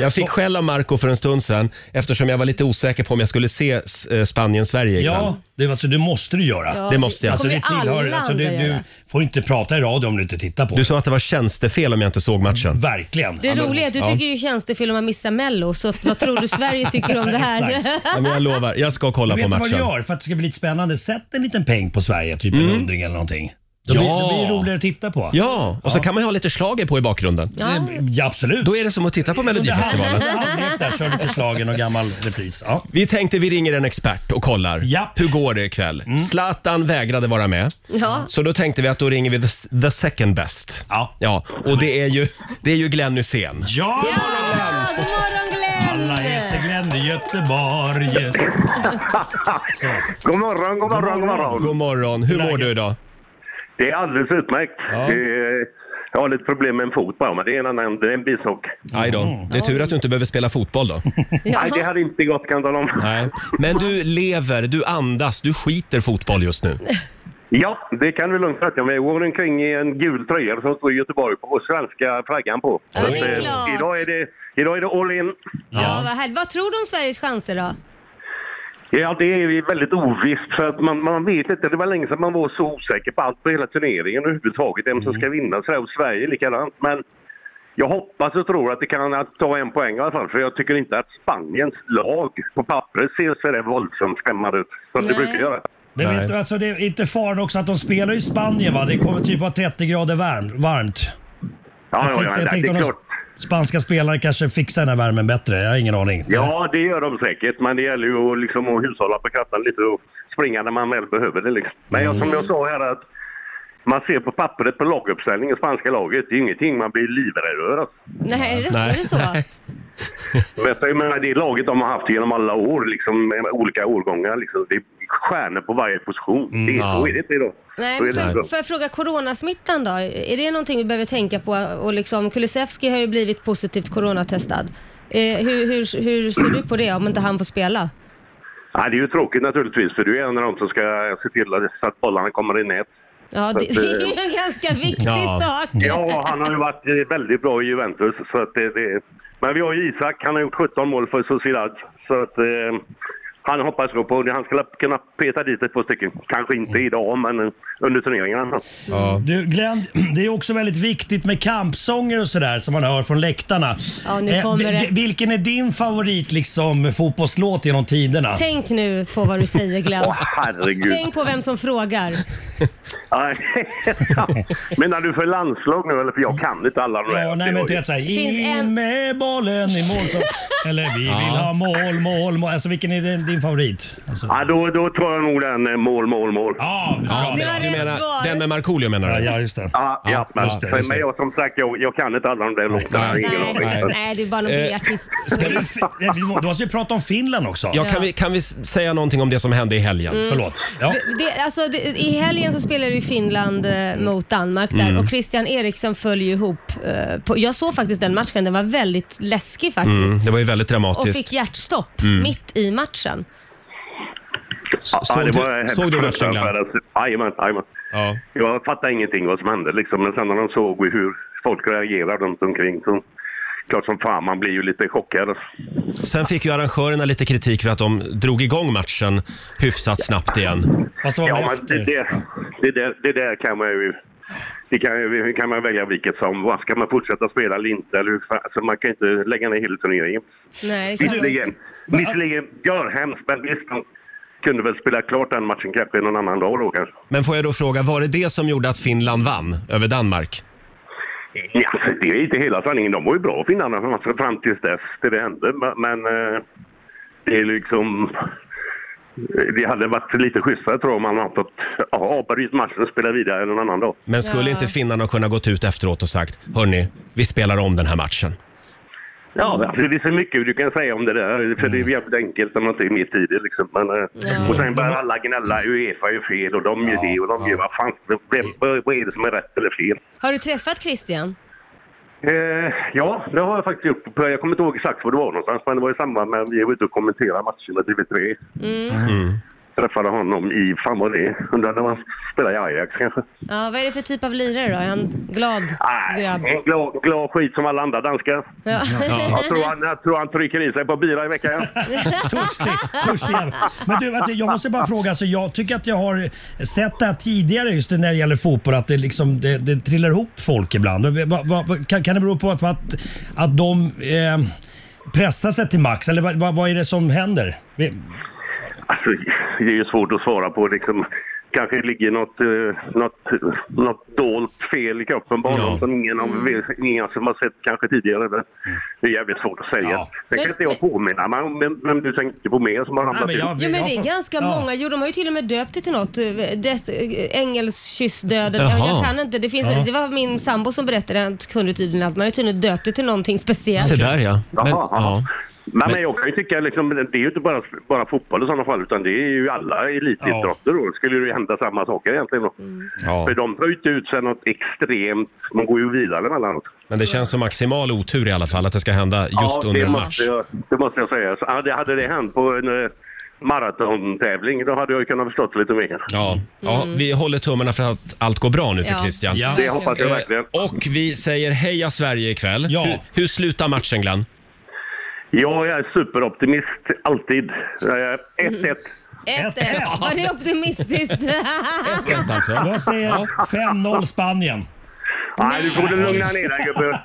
S1: Jag fick skäll av Marco för en stund sedan eftersom jag var lite osäker på om jag skulle se s- eh, Spanien-Sverige ikväll.
S8: Ja, det, alltså, det måste du göra.
S2: Ja,
S1: det måste jag.
S2: kommer
S8: det
S2: ju
S8: tillhör,
S2: alla
S8: alltså, du,
S2: andra
S8: du
S2: göra.
S8: får inte prata i radio om du inte tittar på
S1: Du
S8: det.
S1: sa att det var tjänstefel om jag inte såg matchen.
S8: Verkligen.
S2: Det
S8: Ja, men-
S2: roliga är att du
S1: Ja.
S2: tycker ju tjänstefel om man missar mello, så vad tror du Sverige tycker om det här?
S8: Exakt.
S1: Nej, men jag lovar, jag ska kolla
S8: Du
S1: på
S8: vet vad du
S1: matchen. Mm.
S8: gör för att det ska bli lite spännande? Sätt en liten peng på Sverige, typ en hundring eller någonting. Då
S1: Ja.
S8: blir, då blir det roligare att titta på.
S1: Ja, och så kan man ju ha lite slager på i bakgrunden.
S2: Ja.
S8: Ja, absolut.
S1: Då är det som att titta på Melodifestivalen.
S8: Under hand- under handgrepp där, kör lite slagen och gammal repris. Ja.
S1: Vi tänkte vi ringer en expert och kollar.
S8: Japp.
S1: Hur går det ikväll?
S8: Mm.
S1: Zlatan vägrade vara med.
S2: Ja.
S1: Så då tänkte vi att då ringer vi the, the second best.
S8: Ja.
S1: ja och det är ju, det är ju Glenn Hysén.
S8: Ja!
S2: Ja, God morgon Glenn!
S8: Alla heter Glenn i Göteborg. Så.
S12: God morgon, god morgon, god morgon.
S1: God morgon. Hur mår du idag?
S12: Det är alldeles utmärkt. Det är, jag har lite problem med en fot bara, men det är en annan, det är en bisak.
S1: Aj
S2: Mm.
S8: Mm.
S1: då. Det är tur att du inte behöver spela fotboll då.
S12: Nej, det hade inte gått kan jag tala om.
S1: Nej. Men du lever, du andas, du skiter fotboll just nu.
S12: Ja, det kan vi lugnt säga. Men jag går omkring i en gul tröja som står Göteborg på och svenska flaggan på.
S2: Ja, det är
S12: Så att, eh,
S2: klart.
S12: idag, är det, idag är det all in.
S2: Ja, vad, härligt. vad tror du om Sveriges chanser då?
S12: Ja, det är ju väldigt ovisst för att man, man vet inte. Det var länge sedan man var så osäker på allt på hela turneringen överhuvudtaget. Vem som
S8: Mm.
S12: ska vinna så här, och Sverige likadant. Men jag hoppas och tror att det kan att ta en poäng i alla fall. För jag tycker inte att Spaniens lag på pappret ser så där våldsamt skrämmande ut som det
S2: Nej.
S12: brukar göra.
S8: Men
S1: Nej.
S8: vet du, alltså, det är inte faran också att de spelar i Spanien va? Det kommer typ vara 30 grader varm, varmt.
S12: Ja,
S8: Jag
S12: ja,
S8: tänkte-
S12: ja,
S8: jag
S12: det
S8: tänkte
S12: är
S8: om de
S12: klart.
S8: Spanska spelare kanske fixar den här värmen bättre. Jag har ingen aning.
S12: Ja, det gör de säkert. Men det gäller ju att, liksom, att hushålla på kraften lite och springa när man väl behöver det. Liksom. Men jag, som jag sa här att man ser på pappret på laguppställningen, spanska laget, det är ingenting man blir livrädd över. alltså.
S2: Nej, är det så?
S1: Nej.
S2: Är det så?
S1: Nej.
S12: Vet du, jag menar, det laget de har haft genom alla år, liksom, med olika årgångar. Liksom, det är stjärnor på varje position. det är,
S1: Mm, ja.
S12: Så är det inte idag.
S2: Nej,
S12: så är
S2: men
S12: det
S2: får,
S12: inte.
S2: får jag fråga, coronasmittan då? Är det någonting vi behöver tänka på? Och liksom, Kulusevski har ju blivit positivt coronatestad. Eh, hur, hur, hur ser du på det om inte han får spela?
S12: Nej, det är ju tråkigt naturligtvis, för du är en av dem som ska se till att- så att bollarna kommer i nät.
S2: Ja, det,
S12: Så
S2: det
S12: att, eh,
S2: är ju en ganska viktig
S1: Ja.
S2: sak.
S12: Ja, han har ju varit eh, väldigt bra i Juventus. Så att det, det... Men vi har ju Isak, han har gjort 17 mål för Sociedad. Så att, eh, Han hoppas då på att han skulle kunna peta dit ett par stycken. Kanske inte
S1: Mm.
S12: idag, men eh, under turneringarna.
S8: Du Glenn, det är också väldigt viktigt med kampsånger och sådär som man hör från läktarna.
S2: Ja, nu kommer
S8: vi-
S2: det.
S8: vi- Vilken är din favorit liksom fotbollslåt genom tiderna?
S2: Tänk nu på vad du säger Glenn.
S8: Åh, herregud.
S2: Tänk på vem som frågar.
S12: Nej. Menar du för landslag nu eller? För jag kan inte alla de
S8: Ja, nej men du vet såhär,
S2: Finns
S8: in med bollen i mål. Så, eller vi vill
S12: Ja.
S8: ha mål, mål, mål. Alltså vilken är din, din favorit? Alltså,
S12: Ja, då, då tar jag nog den eh, mål, mål, mål.
S8: Ja,
S1: Ja, det var du rätt menar- svar. den med Markoolio menar du?
S8: Ja, ja, just det.
S12: Ja,
S1: Ja,
S12: men,
S1: just det, just
S12: men
S1: det.
S12: jag som sagt, jag, jag kan inte alla de där låtarna.
S1: Nej,
S12: Ingen aning.
S1: nej.
S2: Nej, det är bara någon
S1: Eh,
S2: B-artist.
S1: ska vi-
S8: Då måste vi prata om Finland också.
S1: Ja, kan, vi, kan vi s- säga någonting om det som hände i helgen?
S2: Mm. Förlåt. Det, alltså, det, I helgen så spelade ju Finland eh, mot Danmark där
S1: Mm.
S2: och Christian Eriksen föll ju ihop. Eh, på, jag såg faktiskt den matchen, den var väldigt läskig faktiskt.
S1: Mm, det var ju väldigt
S2: och
S1: dramatiskt.
S2: fick hjärtstopp
S1: Mm.
S2: mitt i matchen.
S12: Ja,
S1: såg
S12: det
S1: du-
S12: var helt
S1: såg du matchen, Glenn?
S12: fruktansvärt. Jajamän, jajamän. Jag fattade ingenting vad som hände liksom. Men sen när de såg hur folk reagerade runt omkring så klart som fan man blir ju lite chockad.
S1: Sen fick ju arrangörerna lite kritik för att de drog igång matchen hyfsat snabbt igen.
S12: ja, men det, det, det, där, det där kan man ju... Det kan, ju- kan man välja vilket som. Va, Ska man fortsätta spela eller inte? Eller hur fan, alltså man kan inte lägga ner hela turneringen.
S2: Nej, det kan man inte.
S12: Visserligen, visserligen gör hemskt, men visst, de kunde väl spela klart den matchen kanske någon annan dag då kanske.
S1: Men får jag då fråga, var det det som gjorde att Finland vann över Danmark?
S12: Ja, alltså, det är inte hela sanningen. De var ju bra finnarna fram- fram tills dess, till det hände. Men- Men eh, det är liksom... Det hade varit lite schysstare tror jag om man hade fått ja, avbryta matchen och spela vidare någon annan dag.
S1: Men skulle inte finnarna kunna gått ut efteråt och sagt, hörni, vi spelar om den här matchen?
S12: Ja, Mm. alltså, det är så mycket du kan säga om det där. För det är jävligt enkelt om man inte är mitt i det. Liksom. Men, eh, Och sen börjar alla gnälla. Uefa gör fel och de gör det och de gör vad fan. det- Vad vad är det som är rätt eller fel?
S2: Har du träffat Christian?
S12: Eh, ja, det har jag faktiskt gjort. Jag kommer inte ihåg exakt var det var någonstans, men det var i samband med att vi var ute och kommenterade matchen med TV3.
S2: Mm.
S1: Mm.
S12: Träffade honom i, fan vad det är, undrar när han spelar i Ajax kanske.
S2: Ja, vad är det för typ av lirare då? Är han glad grabb?
S12: En glad, glad skit som alla andra danskar.
S2: Ja.
S12: Jag, tror han, jag tror han trycker i sig ett par bira i veckan.
S8: Törstig. Men du, alltså, jag måste bara fråga. Alltså, jag tycker att jag har sett det här tidigare just när det gäller fotboll, att det, liksom, det, det trillar ihop folk ibland. Va, va, va, kan, kan det bero på, på att, att de eh, pressar sig till max, eller va, va, vad är det som händer? Vi-
S12: Alltså, det är ju svårt att svara på liksom. Kanske ligger något, eh, något, något dolt fel i kroppen på honom som ingen, av,
S2: Mm.
S12: ingen som har sett kanske tidigare. Det- Det är jävligt svårt att säga. Sen kan inte jag påminna mig om vem, vem du tänkte på mer som har ramlat
S8: men jag-
S12: ut.
S2: Jo men det är ganska många. Jo de har ju till och med döpt det till något. Eh, Death, eh, Ängelskyssdöden.
S1: Jaha.
S2: Jag, jag kan inte. Det, finns,
S1: Ja.
S2: det var min sambo som berättade. Han kunde tydligen att man har tydligen döpt det till någonting speciellt.
S1: Se där ja. Men, ja.
S12: Nej, men jag kan ju tycka liksom, det är ju inte bara, bara fotboll i sådana fall utan det är ju alla elitidrotter då. Skulle det ju hända samma saker egentligen då.
S1: Ja.
S12: För de tar ju inte ut sig något extremt, de går ju vidare emellanåt.
S1: Men det känns som maximal otur i alla fall att det ska hända just
S12: ja,
S1: under
S12: det
S1: en match.
S12: måste, jag, det måste jag säga. Så hade, hade det hänt på en eh, maratontävling då hade jag ju kunnat förstått lite mer.
S1: Ja, ja, vi håller tummarna för att allt går bra nu för
S12: Ja.
S1: Christian.
S12: Ja. Det hoppas jag verkligen.
S1: Eh, Och vi säger heja Sverige ikväll.
S12: Ja.
S1: Hur, hur slutar matchen Glenn?
S12: Jag är superoptimist, alltid. Eh, 1-1.
S8: Mm.
S2: 1-1. Var det optimistiskt?
S8: Jag säger 5-0 Spanien.
S12: Nej, du får du lugna ner dig gubben.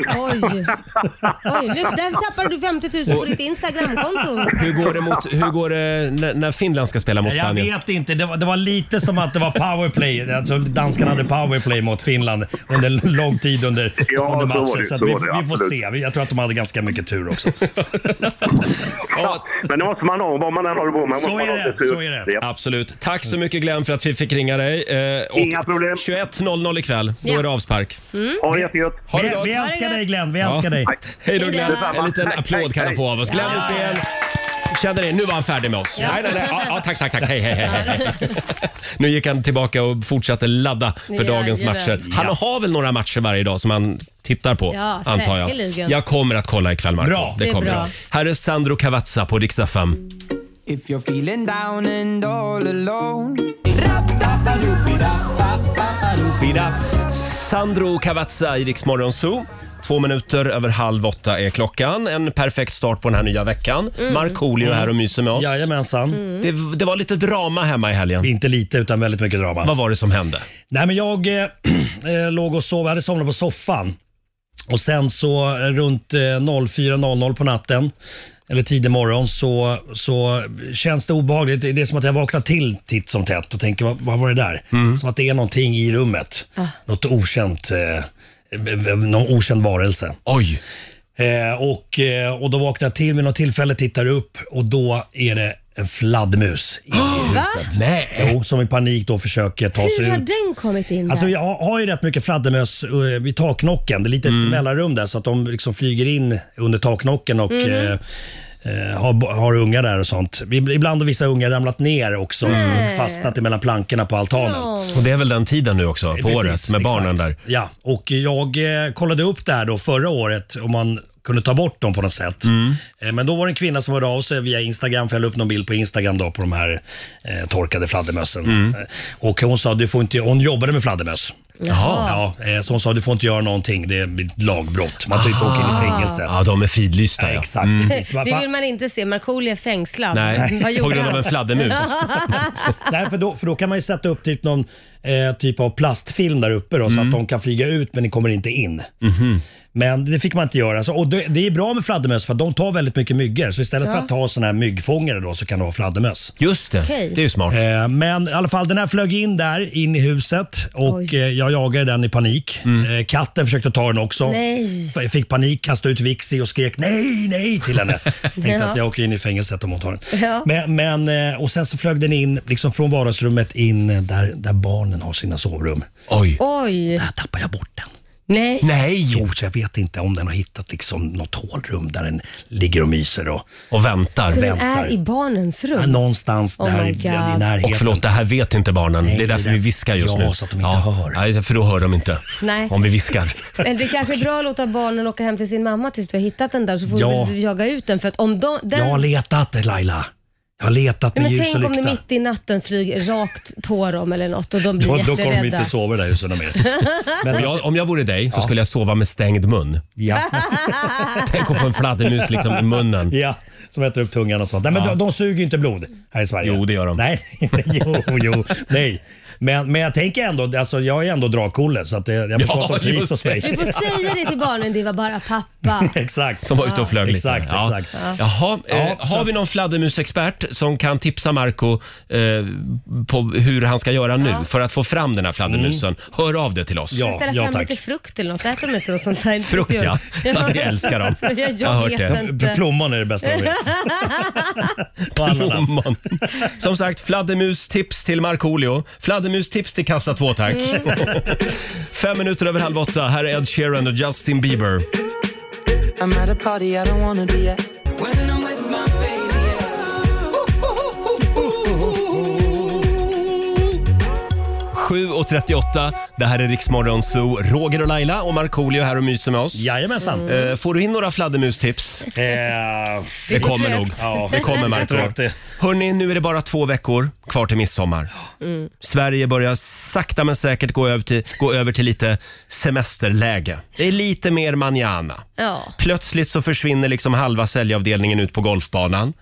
S2: Oj. Oj, nu, där tappade du 50 000 på ditt Instagramkonto.
S1: Hur går det, mot, hur går det när, när Finland ska spela mot
S8: Jag
S1: Spanien?
S8: vet inte. Det var, det var lite som att det var powerplay. Alltså, danskarna hade powerplay mot Finland under lång tid under,
S12: Ja,
S8: under
S12: så
S8: matchen.
S12: var det,
S8: så att
S12: så
S8: vi,
S12: var det,
S8: vi får
S12: absolut.
S8: se. Vi- Jag tror att de hade ganska mycket tur också.
S12: Ja, men det måste man ha vad man än håller på med.
S8: Så
S12: måste man
S8: är
S12: ha
S8: det,
S12: lite tur.
S8: så är det.
S1: Absolut. Tack så mycket Glenn för att vi fick ringa dig. Eh, och
S12: Inga problem.
S1: 21.00 ikväll, då
S12: Ja.
S1: är det avspark.
S12: Mm. Ha det jättegött.
S1: Ha det
S8: Vi-
S1: gott.
S8: vi älskar dig, Glenn. Vi älskar dig.
S1: Hej då
S8: Hej då.
S1: Glenn. En
S8: Detsamma.
S1: liten
S8: Tack,
S1: applåd
S8: tack,
S1: kan han
S8: tack.
S1: få av oss. Glenn
S8: Ja.
S1: Hysén. Känner ni, nu var han färdig med oss.
S8: Ja.
S1: Nej, nej, nej. Ja, ja, tack, tack, tack. Hej, hej, hej, hej. Nu gick han tillbaka och fortsatte ladda för
S2: Ja,
S1: dagens
S2: jajamän.
S1: matcher. Han
S2: Ja.
S1: har väl några matcher varje dag som han tittar på,
S2: Ja,
S1: antar jag.
S2: säkerligen.
S1: Jag kommer att kolla ikväll, Marco.
S2: Bra. Det är
S1: kommer
S2: bra.
S1: jag. Här är Sandro Cavazza på Dix FM.
S7: If you're feeling down and all alone
S1: Bida. Sandro Cavazza i Rix Morgon Zoo. Två minuter över halv åtta är klockan. En perfekt start på den här nya veckan.
S8: Mm.
S1: Markoolio är här och myser med oss.
S8: Jajamensan. Mm.
S1: Det, det var lite drama hemma i helgen.
S8: Inte lite, utan väldigt mycket drama.
S1: Vad var det som hände?
S8: Nej, men jag eh, eh, låg och sov. Jag hade somnat på soffan. Och sen så eh, runt eh, 04.00 på natten, eller tidig morgon, så, så känns det obehagligt. Det är som att jag vaknar till titt som tätt och tänker, vad, vad var det där?
S1: Mm.
S8: Som att det är någonting i rummet. Något okänt, eh, eh, någon okänd varelse.
S1: Oj!
S8: Eh, och, eh, och då vaknar jag till vid något tillfälle, tittar upp och då är det en fladdermus inne i
S2: Va?
S8: huset. Nej. Jo, som i panik då försöker ta sig
S2: Hur har
S8: ut.
S2: den kommit in
S8: Alltså
S2: där?
S8: jag har ju rätt mycket fladdermöss eh, vid taknocken. Det är lite
S1: Mm.
S8: ett mellanrum där så att de liksom flyger in under taknocken och
S2: Mhm.
S8: eh, eh, har, har ungar där och sånt. Ib- Ibland har vissa ungar ramlat ner också
S1: Nej.
S8: och fastnat mellan plankorna på altanen.
S1: Och det är väl den tiden nu också på
S8: Precis,
S1: året med barnen där.
S8: Ja, och jag eh, kollade upp det här då förra året om man kunde ta bort dem på något sätt.
S1: Mm.
S8: Eh, men då var det en kvinna som hörde av sig via Instagram, för jag la upp någon bild på Instagram då på de här eh, torkade fladdermössen.
S7: Mm.
S8: Eh, och hon sa, du får inte, hon jobbade med fladdermöss.
S7: Jaha.
S8: Ja, eh, så hon sa, du får inte göra någonting, det är ett lagbrott. Man tar inte åka in i fängelse.
S1: Ah. Ja, de är fridlysta. Ja, Mm.
S8: exakt, precis.
S2: Det vill man inte se. Markoolio är fängslad.
S8: Nej,
S2: Vad gjorde
S8: på grund
S2: han?
S8: av en fladdermus. Nej, för då, för då kan man ju sätta upp typ någon eh, typ av plastfilm där uppe då,
S1: Mm.
S8: så att de kan flyga ut men de kommer inte in.
S1: Mhm.
S8: Men det fick man inte göra. Så, och det, det är bra med fladdermöss för att de tar väldigt mycket myggor. Så istället för
S7: Ja.
S8: att ta sådana här myggfångare då, så kan du ha fladdermöss.
S1: Just det,
S7: Okej. det är ju
S1: smart.
S8: Eh, men i alla fall, den här flög in där, in i huset och eh, jag jagade den i panik.
S1: Mm.
S8: Eh, katten försökte ta den också.
S7: Nej.
S8: F- Fick panik, kastade ut Vixi och skrek nej, nej till henne. Tänkte
S7: Ja.
S8: att jag åker in i fängelset om hon tar den.
S7: Ja.
S8: Men, men, eh, och sen så flög den in liksom från vardagsrummet in eh, där, där barnen har sina sovrum.
S1: Oj.
S2: Oj!
S8: Där tappar jag bort den.
S2: Nej.
S1: Nej!
S8: Jo, så jag vet inte om den har hittat liksom något hålrum där den ligger och myser. Och,
S1: och väntar.
S2: Så den
S8: väntar.
S2: är i barnens rum?
S8: Ja, någonstans
S2: Oh
S8: där
S2: my
S8: i
S2: God.
S8: närheten.
S1: Och förlåt, det här vet inte barnen.
S8: Nej,
S1: det är
S8: det
S1: därför
S8: är
S1: vi
S8: där-
S1: viskar just
S8: Ja,
S1: nu.
S8: så att de inte
S1: hör. Nej, för då hör de inte.
S2: Nej.
S1: Om vi viskar.
S2: Men det är kanske är bra att låta barnen åka hem till sin mamma tills du har hittat den där så får
S8: Ja.
S2: du jaga ut den. För att om de, den...
S8: Jag har letat Laila. Jag har letat
S2: Nej,
S8: med
S2: men
S8: ljus och
S2: tänk om det
S8: lykta.
S2: mitt i natten flyger rakt på dem eller något och de blir
S8: Då, då
S2: jätterädda.
S8: kommer vi inte sova där husen mer.
S1: Men om jag, om jag vore dig så skulle jag sova med stängd mun.
S8: Ja.
S1: Tänk att få en fladdermus liksom i munnen.
S8: Ja, som äter upp tungan och sånt. Nej, men
S1: Ja.
S8: de, de suger ju inte blod här i Sverige. Jo, det
S1: gör de.
S8: Nej, jo, jo, nej. Men, men jag tänker ändå, alltså, jag är ändå dragkolle så att det, jag förstår
S1: Ja,
S8: att de trivs
S1: just
S8: hos mig.
S2: Du får säga det till barnen, det var bara pappa.
S8: Exakt.
S1: Som var ute och flög lite.
S8: Exakt,
S1: Ja.
S8: exakt.
S1: Jaha, eh,
S8: Ja, så
S1: har vi
S8: att-
S1: någon fladdermusexpert som kan tipsa Marco eh, på hur han ska göra nu för att få fram den här fladdermusen?
S8: Mm.
S1: Hör av det till oss.
S2: Ska vi ställa fram lite frukt eller något? Äter de inte något sånt där?
S1: Frukt ja, ja det älskar de.
S2: Jag, jag,
S1: Jag har hört
S2: vet
S1: det.
S2: Inte.
S8: Plommon är det bästa de vet. ananas.
S1: Plommon. Som sagt, fladdermustips till Markoolio. Fladdermustips till kassa 2 tack. Fem minuter över halv åtta. Här är Ed Sheeran och Justin Bieber.
S7: I'm at a party I don't wanna be at. When I'm with my baby. yeah.
S1: 7.38, det här är Riksmorgon Zoo. Roger och Laila och Markoolio här och myser med oss.
S8: Jajamensan.
S1: Eh, får du in några fladdermustips?
S8: det,
S1: det kommer nog.
S7: trögt.
S1: Eh, Ja. Det kommer Marco.
S7: Trögt
S1: Hörni, nu är det bara två veckor kvar till midsommar.
S7: Mm.
S1: Sverige börjar sakta men säkert gå över till, gå över till lite semesterläge. Det är lite mer manjana.
S2: Ja.
S1: Plötsligt så försvinner liksom halva säljavdelningen ut på golfbanan.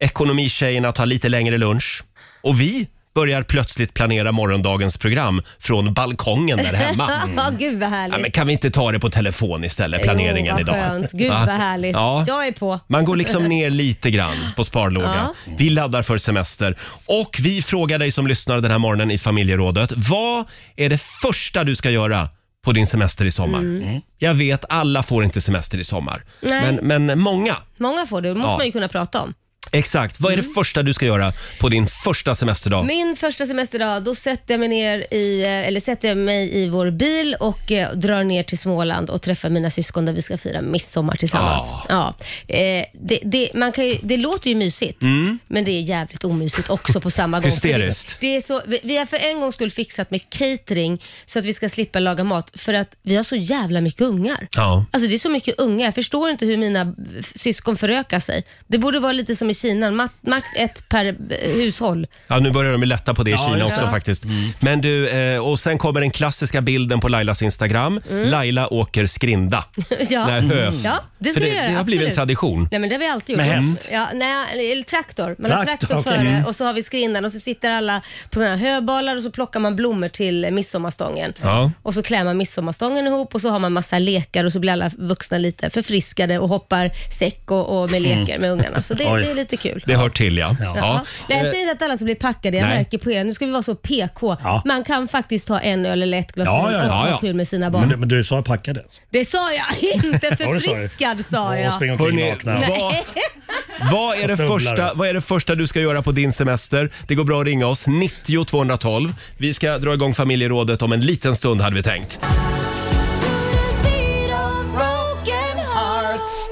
S1: Ekonomitjejerna tar lite längre lunch. Och vi börjar plötsligt planera morgondagens program från balkongen där hemma. Mm.
S2: Ja, Gud vad härligt.
S1: Ja, men kan vi inte ta det på telefon istället, planeringen
S2: jo, vad
S1: idag?
S2: Skönt. Gud
S1: Va?
S2: vad härligt.
S1: Ja.
S2: Jag är på.
S1: Man går liksom ner lite grann på sparlåga. Vi laddar för semester. Och vi frågar dig som lyssnar den här morgonen i familjerådet. Vad är det första du ska göra på din semester i sommar?
S2: Mm.
S1: Jag vet, alla får inte semester i sommar.
S2: Nej.
S1: Men, men många.
S2: Många får det, det måste
S1: Ja.
S2: man ju kunna prata om.
S1: Exakt. Vad är
S2: Mm.
S1: det första du ska göra på din första semesterdag?
S2: Min första semesterdag, då sätter jag mig, ner i, eh, eller sätter jag mig i vår bil och eh, drar ner till Småland och träffar mina syskon där vi ska fira midsommar tillsammans.
S1: Ah.
S2: Ja. Eh, det, det, man kan ju, det låter ju mysigt,
S1: Mm.
S2: men det är jävligt omysigt också på samma gång.
S1: Hysteriskt.
S2: För Det, det är så, vi, vi har för en gångs skull fixat med catering så att vi ska slippa laga mat för att vi har så jävla mycket ungar.
S1: Ja.
S2: Alltså det är så mycket unga. Jag förstår inte hur mina f- syskon förökar sig. Det borde vara lite som i Kina. Ma- Max ett per eh, hushåll.
S1: Ja, nu börjar de ju lätta på det i
S2: Ja,
S1: Kina
S2: just
S1: också
S2: det. Mm.
S1: faktiskt. Men du, eh, och sen kommer den klassiska bilden på Lailas Instagram.
S2: Mm.
S1: Laila åker skrinda.
S2: ja. Mm.
S1: När hös.
S2: Ja, det
S1: Så
S2: ska
S1: det,
S2: vi göra.
S1: det har blivit en
S2: absolut.
S1: tradition.
S2: Nej, men det har vi alltid
S1: Med
S2: gjort.
S1: häst?
S2: Ja, nej, eller traktor. Man har
S1: Traktor,
S2: traktor
S1: okej.
S2: före
S1: Mm.
S2: och så har vi skrindan och så sitter alla på såna här höbalar och så plockar man blommor till eh, midsommarstången.
S1: Ja.
S2: Och så klär man midsommarstången ihop och så har man massa lekar och så blir alla vuxna lite förfriskade och hoppar säck och, och med
S1: Mm.
S2: leker med ungarna. Så alltså, det,
S1: Oj.
S2: det är lite kul.
S1: Det hör till ja. ja.
S2: Ja. Nej, jag
S1: Eh,
S2: säger inte att alla ska bli packade. Jag
S1: nej.
S2: märker på er. Nu ska vi vara så PK.
S8: Ja.
S2: Man kan faktiskt ta en öl eller ett glas vin och ha kul med sina barn.
S8: Men, men du sa packade.
S2: Det sa jag inte!
S8: Ja, det sa du.
S2: Förfriskad sa
S8: Ja,
S2: jag.
S8: spring omkring
S1: Hörrni,
S8: nakna.
S2: Nej.
S1: Eh, Vad är,
S8: Och
S1: det
S8: snubblar.
S1: första, vad är det första du ska göra på din semester? Det går bra att ringa oss, 90 212. Vi ska dra igång familjerådet om en liten stund hade vi tänkt.
S9: Hearts.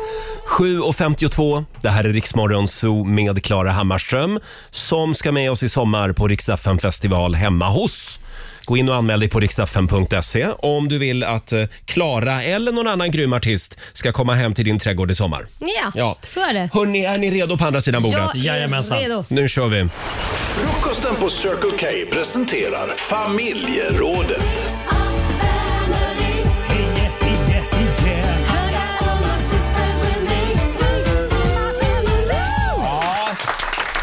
S1: 7.52, det här är Riksmorgon Zoo med Klara Hammarström som ska med oss i sommar på Riksdagen festival hemma hos. Gå in och anmäl dig på riksdagen.se om du vill att eh, Klara eller någon annan grym artist ska komma hem till din trädgård i sommar.
S2: Ja,
S1: Ja.
S2: så är det.
S1: Hörni, är ni redo på andra sidan bordet?
S2: Jag är Jajamensan. redo.
S1: Nu kör vi.
S13: Frukosten på Circle K presenterar familjerådet.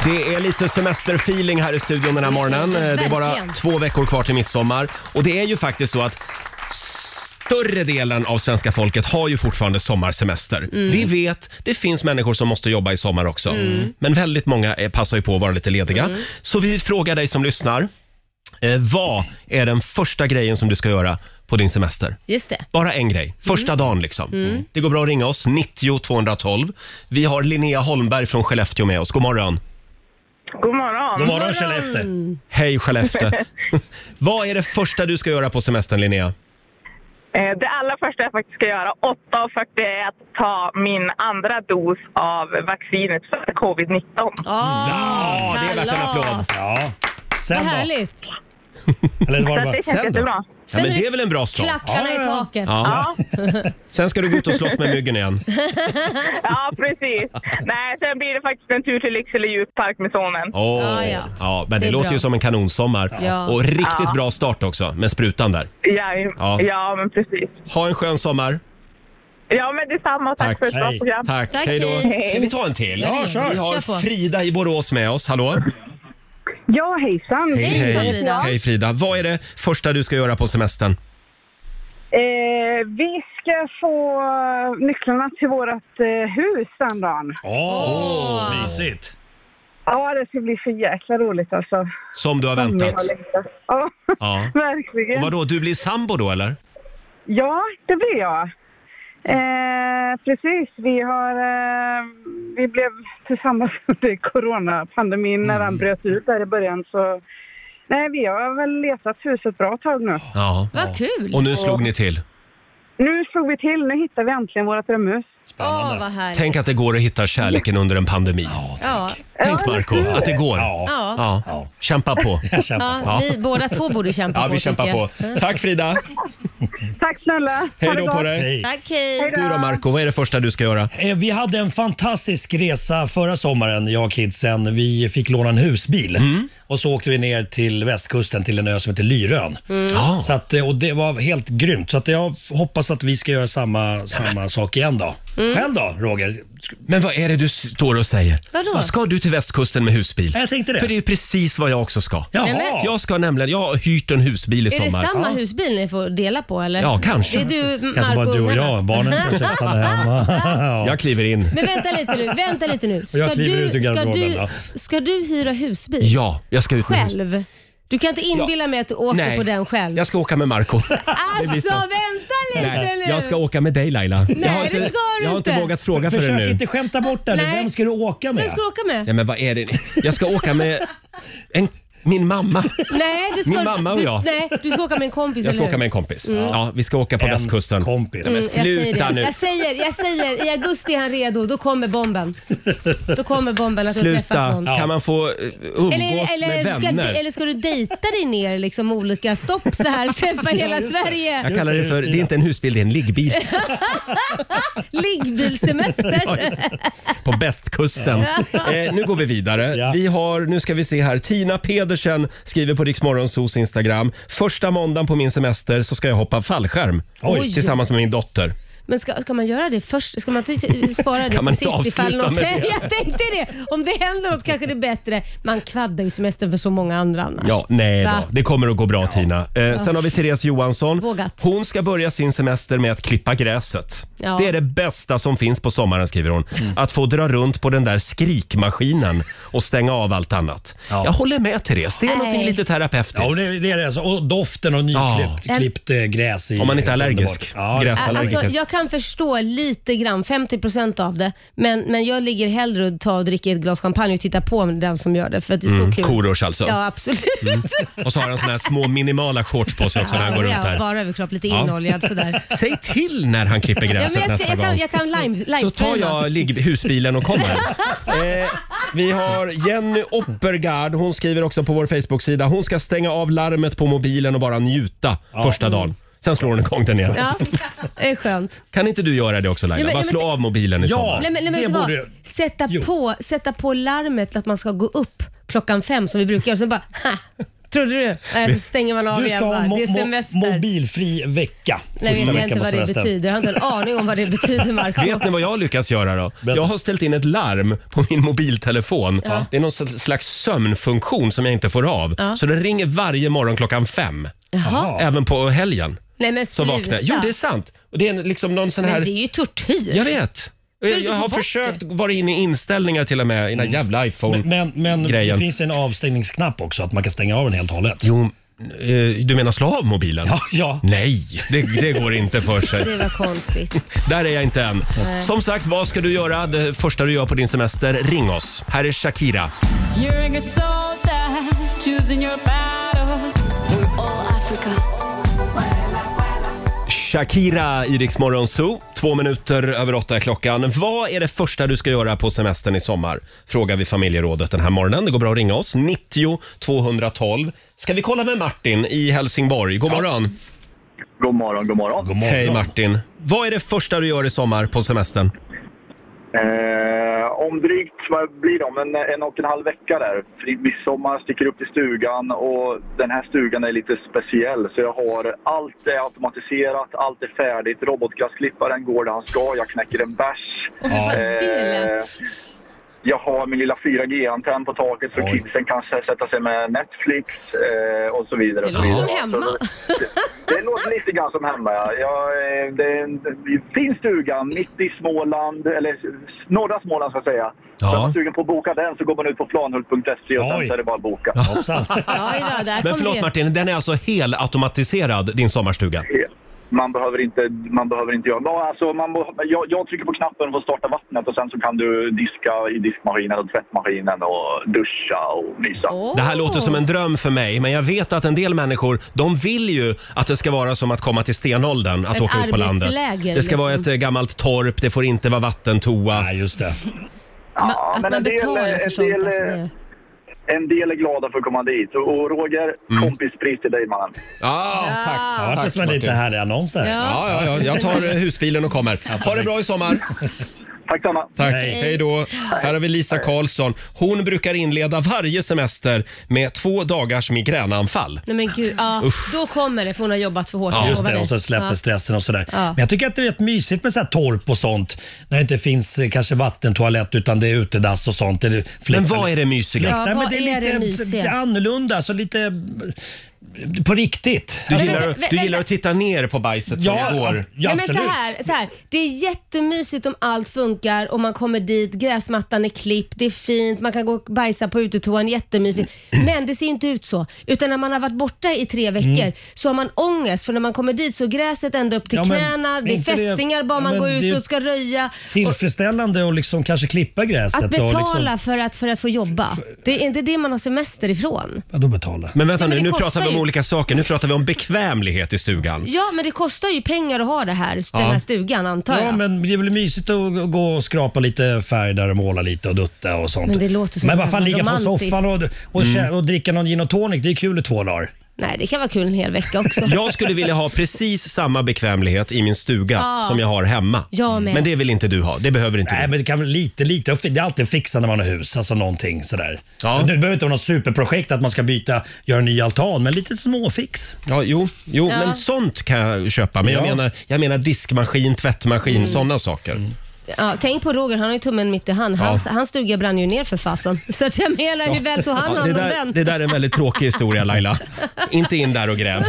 S1: Det är lite semesterfeeling här i studion den här morgonen. Eh, Det är bara
S2: Mm, Verkligen.
S1: två veckor kvar till midsommar. Och det är ju faktiskt så att större delen av svenska folket har ju fortfarande sommarsemester.
S2: Mm.
S1: Vi vet, det finns människor som måste jobba i sommar också.
S2: Mm.
S1: Men väldigt många eh, passar ju på att vara lite lediga.
S2: Mm.
S1: Så vi frågar dig som lyssnar. Eh, vad är den första grejen som du ska göra på din semester?
S2: Just det.
S1: Bara en grej, första dagen liksom.
S2: Mm.
S1: Det går bra att ringa oss, 90 212. Vi har Linnea Holmberg från Skellefteå med oss. God morgon.
S4: God morgon.
S1: God morgon, Skellefteå. Hej Skellefteå. Vad är det första du ska göra på semestern Linnea?
S4: Eh, Det allra första jag faktiskt ska göra 8.40 är att ta min andra dos av vaccinet för covid-19.
S1: Ja, det är värt en applåd. Ja.
S4: Vad
S8: då?
S4: härligt.
S1: Eller
S4: var det bara- Så det känns
S1: Sen då?
S4: jättebra.
S1: Ja, men
S2: Sen
S1: det är väl en bra start?
S2: Klackarna i taket.
S1: Ja. Sen ska du gå ut och slåss med myggen igen.
S4: ja, precis. Nej, sen blir det faktiskt en tur till Lycksele djurpark med sonen.
S1: Åh, Ah, ja. men det,
S4: Det är
S1: låter
S4: bra.
S1: ju som en kanonsommar.
S4: Ja.
S1: Och riktigt
S4: Ja.
S1: bra start också med sprutan där.
S4: Ja,
S1: Ja.
S4: ja. ja, men precis.
S1: Ha en skön sommar.
S4: Ja, men detsamma. Tack, Tack. för ett bra program.
S1: Tack. Hej då. Ska vi ta en till?
S4: Ja, kör.
S1: Vi
S4: Kör på.
S1: har Frida i Borås med oss. Hallå?
S14: Ja, hejsan. Ja.
S1: Hej Frida. Vad är det första du ska göra på semestern?
S14: Eh, vi ska få nycklarna till vårt eh, hus den dagen.
S1: Åh, mysigt.
S14: Ja, det ska bli för jäkla roligt alltså.
S1: Som du har väntat.
S14: Ja,
S1: Ja.
S14: verkligen.
S1: Och vadå, du blir sambo då eller?
S14: Ja, det blir jag. Eh, precis, vi har... Eh, vi blev tillsammans under coronapandemin när
S1: Mm.
S14: den bröt ut där i början så... Nej, vi har väl letat huset bra tag nu.
S1: Ja.
S14: Vad kul.
S1: Och nu slog ni till.
S14: Nu slog vi till, nu hittar vi äntligen vårt drömhus.
S1: Spännande. Åh, vad Tänk att det går att hitta kärleken under en pandemi.
S2: Ja.
S1: Tänk Marco, att det går.
S2: Ja.
S1: Ja. Kämpa på.
S2: Ja, Ni båda två borde kämpa
S1: Ja,
S2: på.
S1: vi kämpar
S2: tycker
S1: på.
S2: jag.
S1: Tack Frida.
S14: Tack snälla.
S1: Hej då på dig.
S2: Tack, hej.
S1: Du då Marco, vad är det första du ska göra?
S8: Eh, Vi hade en fantastisk resa förra sommaren, jag och kidsen. Vi fick låna en husbil och så åkte vi ner till västkusten till en ö som heter Lyrön.
S7: Mm. Ah.
S8: Så att, eh, och det var helt grymt. Så att jag hoppas att vi ska göra samma, samma sak igen då.
S1: Mm.
S8: Själv då, Roger?
S1: Men vad är det du står och säger?
S8: Vadå?
S1: Vad ska du till västkusten med husbil?
S8: Jag tänkte det.
S1: För det är ju precis vad jag också ska.
S2: Jaha. Eller?
S1: Jag ska nämligen, jag har hyrt en husbil i
S2: Är det
S1: sommar.
S2: samma husbil ni får dela på eller?
S1: Ja, kanske.
S2: Det är du,
S1: Kanske bara
S2: Marco,
S1: du och
S2: ungarna.
S1: jag. Barnen kanske stannar
S8: hemma.
S1: Jag kliver in.
S2: Men vänta lite nu, vänta lite nu.
S1: Och jag kliver ut ur
S2: ska,
S1: garderoben,
S2: du,
S1: ja.
S2: ska du hyra husbil?
S1: Ja, jag ska ut med hus-
S2: Själv? Du kan inte inbilla mig att du åker
S1: Nej.
S2: på den själv?
S1: Jag ska åka med Marco. Det blir
S2: Alltså
S1: så.
S2: vänta lite
S1: Nej,
S2: nu!
S1: jag ska åka med dig Laila. jag har
S2: det
S1: inte,
S2: ska du
S1: jag har
S2: inte.
S1: vågat fråga
S8: Försök
S1: förrän nu.
S8: inte skämta bort det.
S2: Nej.
S8: Vem ska du åka med?
S2: Vem ska du åka med?
S1: Nej men vad är det? Jag ska åka med en Min mamma.
S2: Nej, du ska,
S1: Min mamma och
S2: du,
S1: jag.
S2: Nej, du ska åka med en kompis,
S1: Jag ska
S2: eller
S1: åka
S2: hur?
S1: med en kompis.
S2: Mm.
S1: Ja, vi ska åka på västkusten.
S8: kompis.
S1: Nej, men
S2: Mm, jag säger
S1: sluta
S2: det.
S1: nu.
S2: Jag säger, jag säger, i augusti är han redo. Då kommer bomben. Då kommer bomben att du har träffat
S1: Sluta.
S2: någon.
S1: Kan man få eh, umgås
S2: Eller,
S1: med
S2: eller, ska,
S1: vänner?
S2: eller ska du dejta dig ner liksom olika stopp så här? Träffa hela Sverige.
S1: Jag kallar det för, det är inte en husbil, det är en liggbil Ja,
S2: Liggbilsemester.
S1: på bästkusten.
S2: Ja.
S1: Eh, nu går vi vidare. Vi har, nu ska vi se här, Tina Pedersen skriver på Riksmorgonsos Instagram. Första måndagen på min semester så ska jag hoppa fallskärm
S2: Oj.
S1: tillsammans med min dotter.
S2: Men ska, ska man göra det först? Ska man inte spara det
S1: Kan man
S2: till
S1: inte
S2: sist ifall
S1: avsluta
S2: något
S1: med
S2: händer?
S1: det?
S2: Jag tänkte det. Om det händer något kanske det är bättre. Man kvaddar ju semestern för så många andra annars.
S1: Ja, nej
S2: Va?
S1: då. Det kommer att gå bra Tina. Eh, sen
S2: Ja.
S1: har vi Therese Johansson.
S2: Vågat.
S1: Hon ska börja sin semester med att klippa gräset.
S2: Ja. Mm.
S1: Det är det bästa som finns på sommaren skriver hon. Att få dra runt på den där skrikmaskinen och stänga av allt annat. Jag håller med Therese. Det är
S2: Nej.
S1: någonting lite terapeutiskt.
S8: Ja, och det, det är det. Alltså. Och doften av nyklippt
S2: Ja.
S8: klippt, eh, gräs. i-
S1: Om man inte är
S8: helt
S1: allergisk.
S8: underbart. Ja,
S2: Alltså, jag kan förstå lite grann, 50% av det. Men, men jag ligger hellre och tar och dricker ett glas champagne och tittar på den som gör det. För att det är så
S1: Mm,
S2: kul.
S1: Korosh alltså.
S2: Ja, absolut.
S1: Mm. Och så har han såna här små minimala shorts på sig också när han går runt
S2: Ja,
S1: här.
S2: bara överkropp, lite
S1: Ja.
S2: inoljad sådär.
S1: Säg till när han klipper
S2: Ja,
S1: gräset
S2: men jag, ska,
S1: nästa
S2: jag, kan,
S1: gång.
S2: jag kan
S1: Så
S2: lime,
S1: tar
S2: limespray, va?
S1: jag ligg- husbilen och kommer. Eh, vi har Jenny Oppergard. Hon skriver också på vår Facebook-sida. Hon ska stänga av larmet på mobilen och bara njuta första dagen. Sen slår hon igång den igen.
S2: Ja, det är skönt.
S1: Kan inte du göra det också Laila?
S2: Ja, men-
S1: bara
S2: ja, men
S1: slå
S2: det-
S1: av mobilen i sommar.
S2: nej, men, nej, men vet du vad? Sätta, på, sätta på larmet att man ska gå upp klockan fem som vi brukar göra. Sen bara, ha! Trodde du? Nej, så stänger man av
S8: Du
S2: igen.
S8: ska ha
S2: Bara.
S8: mo-
S2: Det är
S8: mo-
S2: semester.
S8: mobilfri vecka.
S2: Nej,
S8: Första
S2: vet jag
S8: veckan
S2: inte
S8: på
S2: vad det
S8: semestern.
S2: betyder. Jag har inte en aning om vad det betyder, Marco.
S1: Vet ni vad jag lyckas göra då? Jag har ställt in ett larm på min mobiltelefon.
S2: Ja.
S1: Det är någon slags sömnfunktion som jag inte får av.
S2: Ja.
S1: Så den ringer varje morgon klockan fem.
S2: Jaha.
S1: Även på helgen.
S2: Nej, men
S1: Så
S2: sluta.
S1: vaknar jag. Jo, det är sant. Och det är en- liksom någon sån
S2: Men
S1: här...
S2: det är ju tortyr.
S1: Jag vet.
S2: Kan du
S1: Jag,
S2: inte
S1: jag
S2: få
S1: har
S2: bort
S1: försökt vara inne i inställningar till och med i den här jävla
S8: Mm. Men, men det
S1: iPhone-grejen.
S8: finns en avstängningsknapp också, att man kan stänga av den helt och hållet.
S1: Jo, eh, du menar slå av mobilen?
S8: Ja, ja.
S1: Nej, det, det går inte för sig.
S2: Det var konstigt.
S1: Där är jag inte än.
S2: Nej.
S1: Som sagt, vad ska du göra det första du gör på din semester? Ring oss. Här är Shakira.
S9: You're a good soldier, choosing your battle. We're all Africa.
S1: Shakira i Rix Morgon Zoo. Två minuter över åtta är klockan. Vad är det första du ska göra på semestern i sommar? Frågar vi familjerådet den här morgonen. Det går bra att ringa oss. 90 212. Ska vi kolla med Martin i Helsingborg? God morgon.
S15: God morgon, god morgon.
S1: Hej Martin. Vad är det första du gör i sommar på semestern?
S15: Eh, om drygt, vad blir det, om en, en och en halv vecka där. För i midsommar sticker upp till stugan och den här stugan är lite speciell. Så jag har, allt är automatiserat, allt är färdigt. Robotgräsklipparen går där han ska, jag knäcker en bärs. Eh,
S9: Åh, vad det lät.
S15: jag har min lilla 4G-antenn på taket så kidsen kan sä- sätta sig med Netflix eh, och så vidare. och
S2: Det
S15: så
S2: låter
S15: vidare.
S2: som hemma.
S15: Det låter lite grann som hemma. Ja. Jag, eh, det är en fin stuga mitt i Småland, eller norra Småland ska jag säga.
S1: Ja.
S15: Så är man sugen på att boka den så går man ut på planhult.se E och sen så är det bara att boka.
S2: ja, där
S1: Men
S2: kom
S1: förlåt
S2: det.
S1: Martin, den är alltså helautomatiserad, din sommarstuga?
S15: Man behöver inte, man behöver inte göra... Ja, Alltså, man, må- jag, jag trycker på knappen för att starta vattnet och sen så kan du diska i diskmaskinen och tvättmaskinen och duscha och mysa.
S1: Det här låter som en dröm för mig, men jag vet att en del människor, de vill ju att det ska vara som att komma till stenåldern, att
S2: Ett
S1: åka ut på landet.
S2: arbetsläger,
S1: Det ska vara ett
S2: liksom.
S1: eh, gammalt torp, det får inte vara vattentoa.
S8: Nej, just det.
S15: Ja,
S2: att
S15: men
S2: man
S15: en del- eh,
S2: betalar för
S15: en
S2: sånt.
S15: del-
S2: Alltså, det...
S15: En del är glada för att komma dit. Och, och Roger, kompispris till dig mannen.
S1: Ja, tack.
S8: Ja, det som en liten härlig annons där.
S1: Ja. Ja, ja, ja, jag tar eh, husbilen och kommer. Ha det bra i sommar.
S15: Tack samma.
S1: Tack.
S15: Hej.
S1: Hej då. Här har vi Lisa Karlsson. Hon brukar inleda varje semester med två dagars migränanfall.
S2: Nej men gud, ja,
S1: Usch.
S2: då kommer det för hon har jobbat för hårt.
S8: Ja,
S2: Jag
S8: just
S2: lovar
S8: det,
S2: dig.
S8: och sen släpper
S2: Ja.
S8: stressen och sådär.
S2: Ja.
S8: Men jag tycker att det är rätt mysigt med så här torp och sånt. När det inte finns eh, kanske vattentoalett utan det är utedass och sånt. Det är fläktar-
S1: vad är det mysiga?
S8: Fläktar,
S2: Ja,
S8: men
S2: vad
S8: det är
S2: är det
S8: lite
S2: mysiga?
S8: annorlunda. Så lite, På riktigt.
S2: Du gillar- Men vänta, du gillar vänta. att
S1: titta ner på bajset
S8: ja,
S1: som det går.
S8: Ja,
S2: Nej, men så här, så här, det är jättemysigt om allt funkar och man kommer dit, gräsmattan är klippt, det är fint, man kan gå och bajsa på utetoan, jättemysigt. Men det ser ju inte ut så. Utan när man har varit borta i tre veckor
S8: Mm.
S2: så har man ångest för när man kommer dit så är gräset ända upp till
S8: Ja, men
S2: knäna, det är
S8: inte det-
S2: fästingar bara
S8: ja,
S2: man
S8: men
S2: går ut
S8: det-
S2: och ska röja. Och
S8: Tillfredsställande och liksom kanske klippa gräset.
S2: att betala
S8: och liksom,
S2: för, att, för att få jobba, det är inte det man har semester ifrån.
S8: Vadå betala?
S1: Men vänta
S2: Ja, men
S1: nu,
S2: det
S1: nu
S2: kostar
S1: pratar vi om
S2: ju.
S1: olika saker. Nu pratar vi om bekvämlighet i stugan.
S2: Ja, men det kostar ju pengar att ha det här,
S1: Ja.
S2: den här stugan antar
S8: Ja,
S2: jag.
S8: men det är väl mysigt att gå och skrapa lite färg där och måla lite och dutta och sånt.
S2: Men det låter så
S8: Men vad fan,
S2: jävla
S8: ligga på
S2: romantiskt.
S8: soffan och, och,
S1: Mm.
S8: kä- och dricka någon gin och tonic, det är kul i två dagar.
S2: Nej, det kan vara kul en hel vecka också.
S1: Jag skulle vilja ha precis samma bekvämlighet i min stuga
S2: Ja.
S1: som jag har hemma.
S2: Jag med.
S1: Men det vill inte du ha. Det behöver inte
S8: Nej, men det kan väl lite, lite. och fi- Det är alltid att fixa när man har hus, alltså någonting sådär.
S1: Ja.
S8: Det behöver inte vara något superprojekt att man ska byta, göra en ny altan, men lite småfix.
S1: Ja, jo, jo
S2: Ja.
S1: men sånt kan jag köpa. Men
S8: Ja.
S1: jag, menar, jag menar diskmaskin, tvättmaskin,
S2: Mm.
S1: såna saker.
S2: Ja, tänk på Roger, han har ju tummen mitt i hand. Hans, hans stuga brann ju ner för fasen. Så att jag menar, hur väl tog han
S1: Ja,
S2: hand
S1: det,
S2: om
S1: där,
S2: den?
S1: det där är en väldigt tråkig historia Laila. Inte in där och gräv.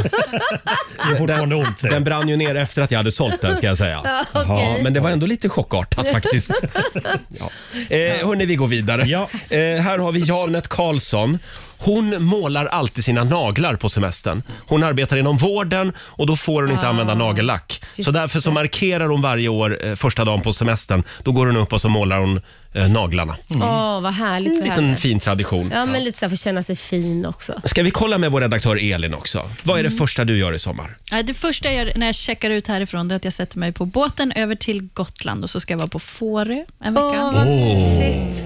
S8: Den,
S1: den brann ju ner efter att jag hade sålt den ska jag säga.
S2: Ja, okej.
S1: men det var ändå lite chockartat faktiskt. Ja. Eh, hörni, vi går vidare. Eh, här har vi Janet Karlsson. Hon målar alltid sina naglar på semestern. Hon arbetar inom vården och då får hon inte
S16: Ah,
S1: använda nagellack. Så
S16: just
S1: därför så markerar hon varje år eh, första dagen på semestern. Då går hon upp och så målar hon eh, naglarna.
S2: Åh, vad Mm. härligt
S1: En
S2: för
S1: liten
S2: henne.
S1: fin tradition.
S2: Ja, men lite så här för att känna sig fin också.
S1: Ska vi kolla med vår redaktör Elin också? Vad är det
S5: Mm.
S1: första du gör i sommar?
S5: Ja, Det första jag gör när jag checkar ut härifrån det är att jag sätter mig på båten över till Gotland och så ska jag vara på Fårö en vecka.
S2: Åh, vad
S8: Åh.
S2: mysigt.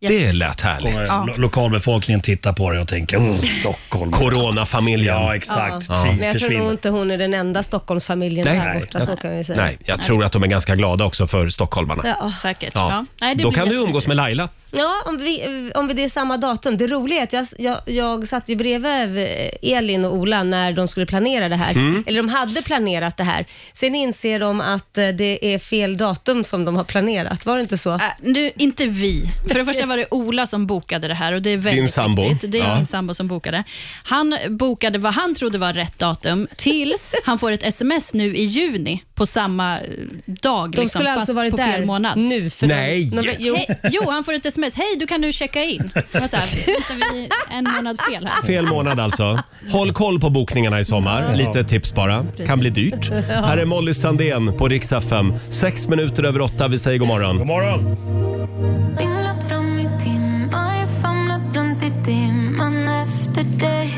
S2: Ja.
S1: Det lät härligt.
S8: Kommer
S5: Ja.
S8: lo- lokalbefolkningen titta på det och tänka, oh, Stockholm.
S1: Coronafamiljen.
S8: Ja, exakt.
S1: Ja.
S8: Fy,
S2: Men jag tror
S1: försvinner.
S2: nog inte hon är den enda Stockholmsfamiljen
S1: Nej.
S2: där
S1: Nej.
S2: borta, så kan vi säga.
S1: Nej, jag tror att de är ganska glada också för stockholmarna.
S2: Ja.
S5: Säkert.
S1: Ja. Då kan du umgås med Laila.
S2: Ja, om vi, om vi det är samma datum. Det roliga är att jag, jag, jag satt ju bredvid eh, Elin och Ola när de skulle planera det här.
S1: Mm.
S2: Eller de hade planerat det här. Sen inser de att eh, det är fel datum som de har planerat. Var det inte så?
S5: nu, inte vi. För det första var det Ola som bokade det här och det är väldigt
S1: Din sambo.
S5: viktigt. Det är
S1: Ja.
S5: min sambo som bokade. Han bokade vad han trodde var rätt datum tills han får ett sms nu i juni på samma eh, dag.
S2: De
S5: liksom,
S2: skulle
S5: fast
S2: alltså varit
S5: på fel
S2: där
S5: månad.
S2: nu. För
S1: Nej.
S2: De, de, jo.
S5: Hej, jo, han får ett sms. Hej, du kan nu checka in. Jag var så här, vänta, vi är en månad fel här.
S1: Fel månad alltså. Håll koll på bokningarna i sommar. Lite tips bara. Kan bli dyrt. Här är Molly Sandén på riksdag 5. Sex minuter över åtta. Vi säger god morgon. God
S8: morgon.
S7: Vinglat fram i timmar, famlat runt i dimman efter dig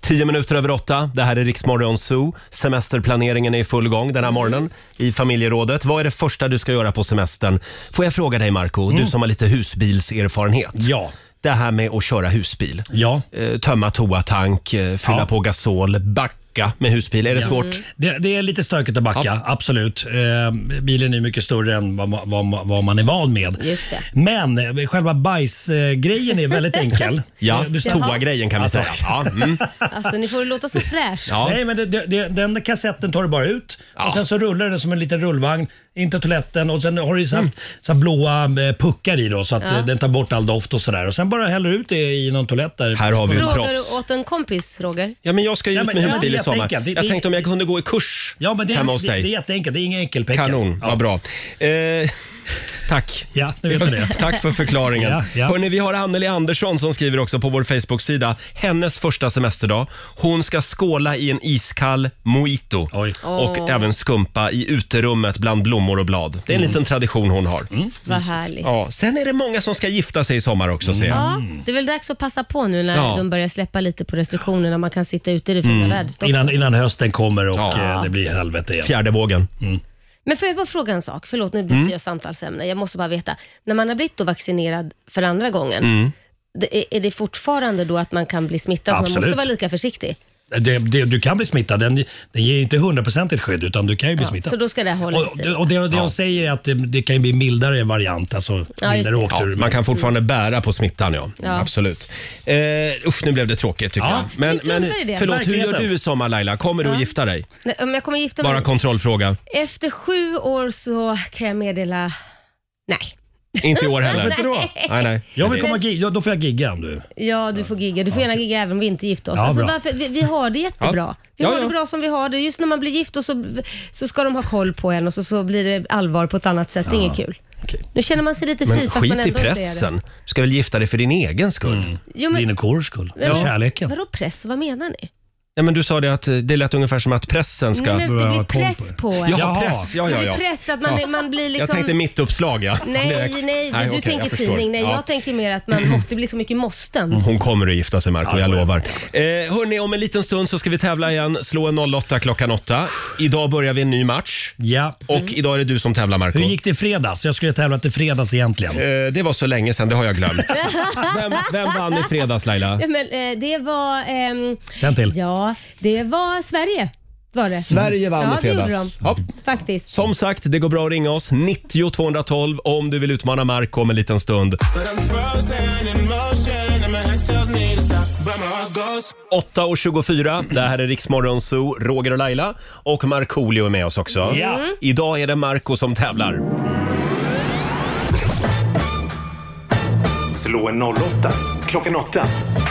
S1: Tio minuter över åtta. Det här är Riksmorgon Zoo. Semesterplaneringen är i full gång den här morgonen i familjerådet. Vad är det första du ska göra på semestern? Får jag fråga dig Marco, du
S8: Mm.
S1: som har lite husbilserfarenhet.
S8: Ja.
S1: Det här med att köra husbil. Eh,
S8: Ja.
S1: Tömma toatank, eh, fylla på gasol, backa med husbil. Är det
S8: Ja. Mm.
S1: svårt?
S8: Det, det är lite stökigt att backa, absolut. Eh, bilen är mycket större än vad, ma- vad, ma- vad man är van med.
S2: Just det.
S8: Men eh, själva bajsgrejen är väldigt enkel.
S1: Ja,
S8: Eh, du-
S1: toa-grejen kan vi
S8: Alltså,
S1: säga. Ja, mm.
S2: Alltså, ni får det låta så fräscht.
S8: Nej, men det, det, det, den kassetten tar du bara ut och sen så rullar den som en liten rullvagn in till toaletten och sen har du ju så haft
S1: Mm.
S8: så här blåa eh, puckar i då så att
S2: Ja.
S8: eh, den tar bort all doft och sådär. Och sen bara häller ut det i någon toalett där. Här
S1: har
S2: Frågar åt en kompis, Roger?
S1: Ja, men jag ska ju ut med husbil i sommar. jag tänkte om jag kunde gå i kurs
S8: Ja, men det,
S1: hemma hos
S8: det,
S1: dig.
S8: Det är jätteenkelt, det är inga enkelpengar.
S1: Kanon, vad bra. Eh, tack.
S8: Ja, nu vet du det.
S1: Tack för förklaringen.
S8: Ja, ja.
S1: Hörrni, vi har Anneli Andersson som skriver också på vår Facebook-sida. Hennes första semesterdag. Hon ska skåla i en iskall mojito och
S2: Åh.
S1: även skumpa i uterummet bland blommor och blad. Det är en
S8: Mm.
S1: liten tradition hon har.
S2: Vad härligt.
S1: Ja, sen är det många som ska gifta sig i sommar också ser jag. Mm.
S2: Ja,
S8: Mm.
S2: det är väl dags att passa på nu när
S1: Ja. Mm.
S2: de börjar släppa lite på restriktionerna. Man kan sitta ute i det fina vädret också.
S8: Innan, innan hösten kommer och eh, det blir helvete igen.
S1: Fjärde vågen.
S2: Men får jag bara fråga en sak? Förlåt, nu byter
S8: Mm.
S2: jag samtalsämne. Jag måste bara veta. När man har blivit då vaccinerad för andra gången,
S8: Mm.
S2: det, är, är det fortfarande då att man kan bli smittad? Så man måste
S8: Absolut.
S2: vara lika försiktig?
S8: Det, det, du kan bli smittad. Den, den ger ju inte hundraprocentigt skydd utan du kan ju bli smittad.
S2: Så då ska det hålla i sig?
S8: och, och det, det hon säger är att det, det kan ju bli mildare variant. Alltså
S2: Ja, just
S8: mildare
S2: det.
S8: åktur.
S1: Ja, man kan fortfarande bära på smittan, ja.
S2: Ja.
S1: Absolut. Eh, usch, nu blev det tråkigt tycker
S2: Ja.
S1: jag. Men,
S2: Vi struntar
S1: men
S2: i det.
S1: förlåt, hur gör
S2: Verkligheten.
S1: du i sommar Laila? Kommer du
S2: Ja.
S1: att gifta dig?
S2: Nej, Om jag kommer gifta mig?
S1: Bara kontrollfråga.
S2: Efter sju år så kan jag meddela nej.
S1: Inte i år heller.
S2: Varför då?
S1: Nej, nej.
S8: Jag vill komma gig, då får jag gigga om du.
S2: Ja, du får gigga. Du får gärna gigga även om vi inte gifter oss.
S8: Ja,
S2: alltså,
S8: bra.
S2: varför, vi, vi har det jättebra.
S8: Ja.
S2: Vi
S8: Ja,
S2: har
S8: ja.
S2: det bra som vi har det. Just när man blir gift och så, så ska de ha koll på en och så, så blir det allvar på ett annat sätt. Det är inget kul. Nu känner man sig lite fri
S1: Men
S2: fast man
S1: skit
S2: ändå
S1: i
S2: inte är det.
S1: pressen. Du ska väl gifta dig för din egen skull?
S2: Jo, men- Din och
S1: kors skull.
S2: Men vad- Vadå press? Vad menar ni?
S1: Ja, men du sa det att eh, det lät ungefär som att pressen ska...
S2: Nej, men det blir press på en.
S1: Jaha, press. Ja, ja,
S2: Det
S1: ja.
S2: blir press att man,
S1: Ja.
S2: man blir liksom...
S1: Jag tänkte mitt uppslag ja.
S2: Nej,
S1: Direkt.
S2: nej, du
S1: okej, jag
S2: tänker
S1: förstår.
S2: tidning. Nej,
S1: Ja.
S2: jag tänker mer att man måste, det blir så mycket måsten.
S1: Mm, Hon kommer att gifta sig Marco, jag lovar. Eh, hörni, om en liten stund så ska vi tävla igen. Slå en 08 klockan 8. Idag börjar vi en ny match.
S8: Ja. Mm.
S1: Och idag är det du som tävlar Marco. Eh,
S8: Hur gick det i fredags? Jag skulle tävla till fredags egentligen.
S1: det var så länge sedan, det har jag glömt. Vem, vem vann i fredags Laila?
S2: Nej, men, eh, det var... ehm,
S1: Den till.
S2: Ja, det var Sverige. Var det.
S1: Sverige vann
S2: ja,
S1: i fredags.
S2: Ja, det
S1: Hopp.
S2: gjorde de. Faktiskt.
S1: Som sagt, det går bra att ringa oss. 90 212 om du vill utmana Marco om en liten stund. 8.24, det här är Riksmorgon Zoo, Roger och Laila och Markoolio är med oss också.
S7: Ja. Mm.
S1: Idag är det Marco som tävlar.
S13: Slå en 08 klockan 8.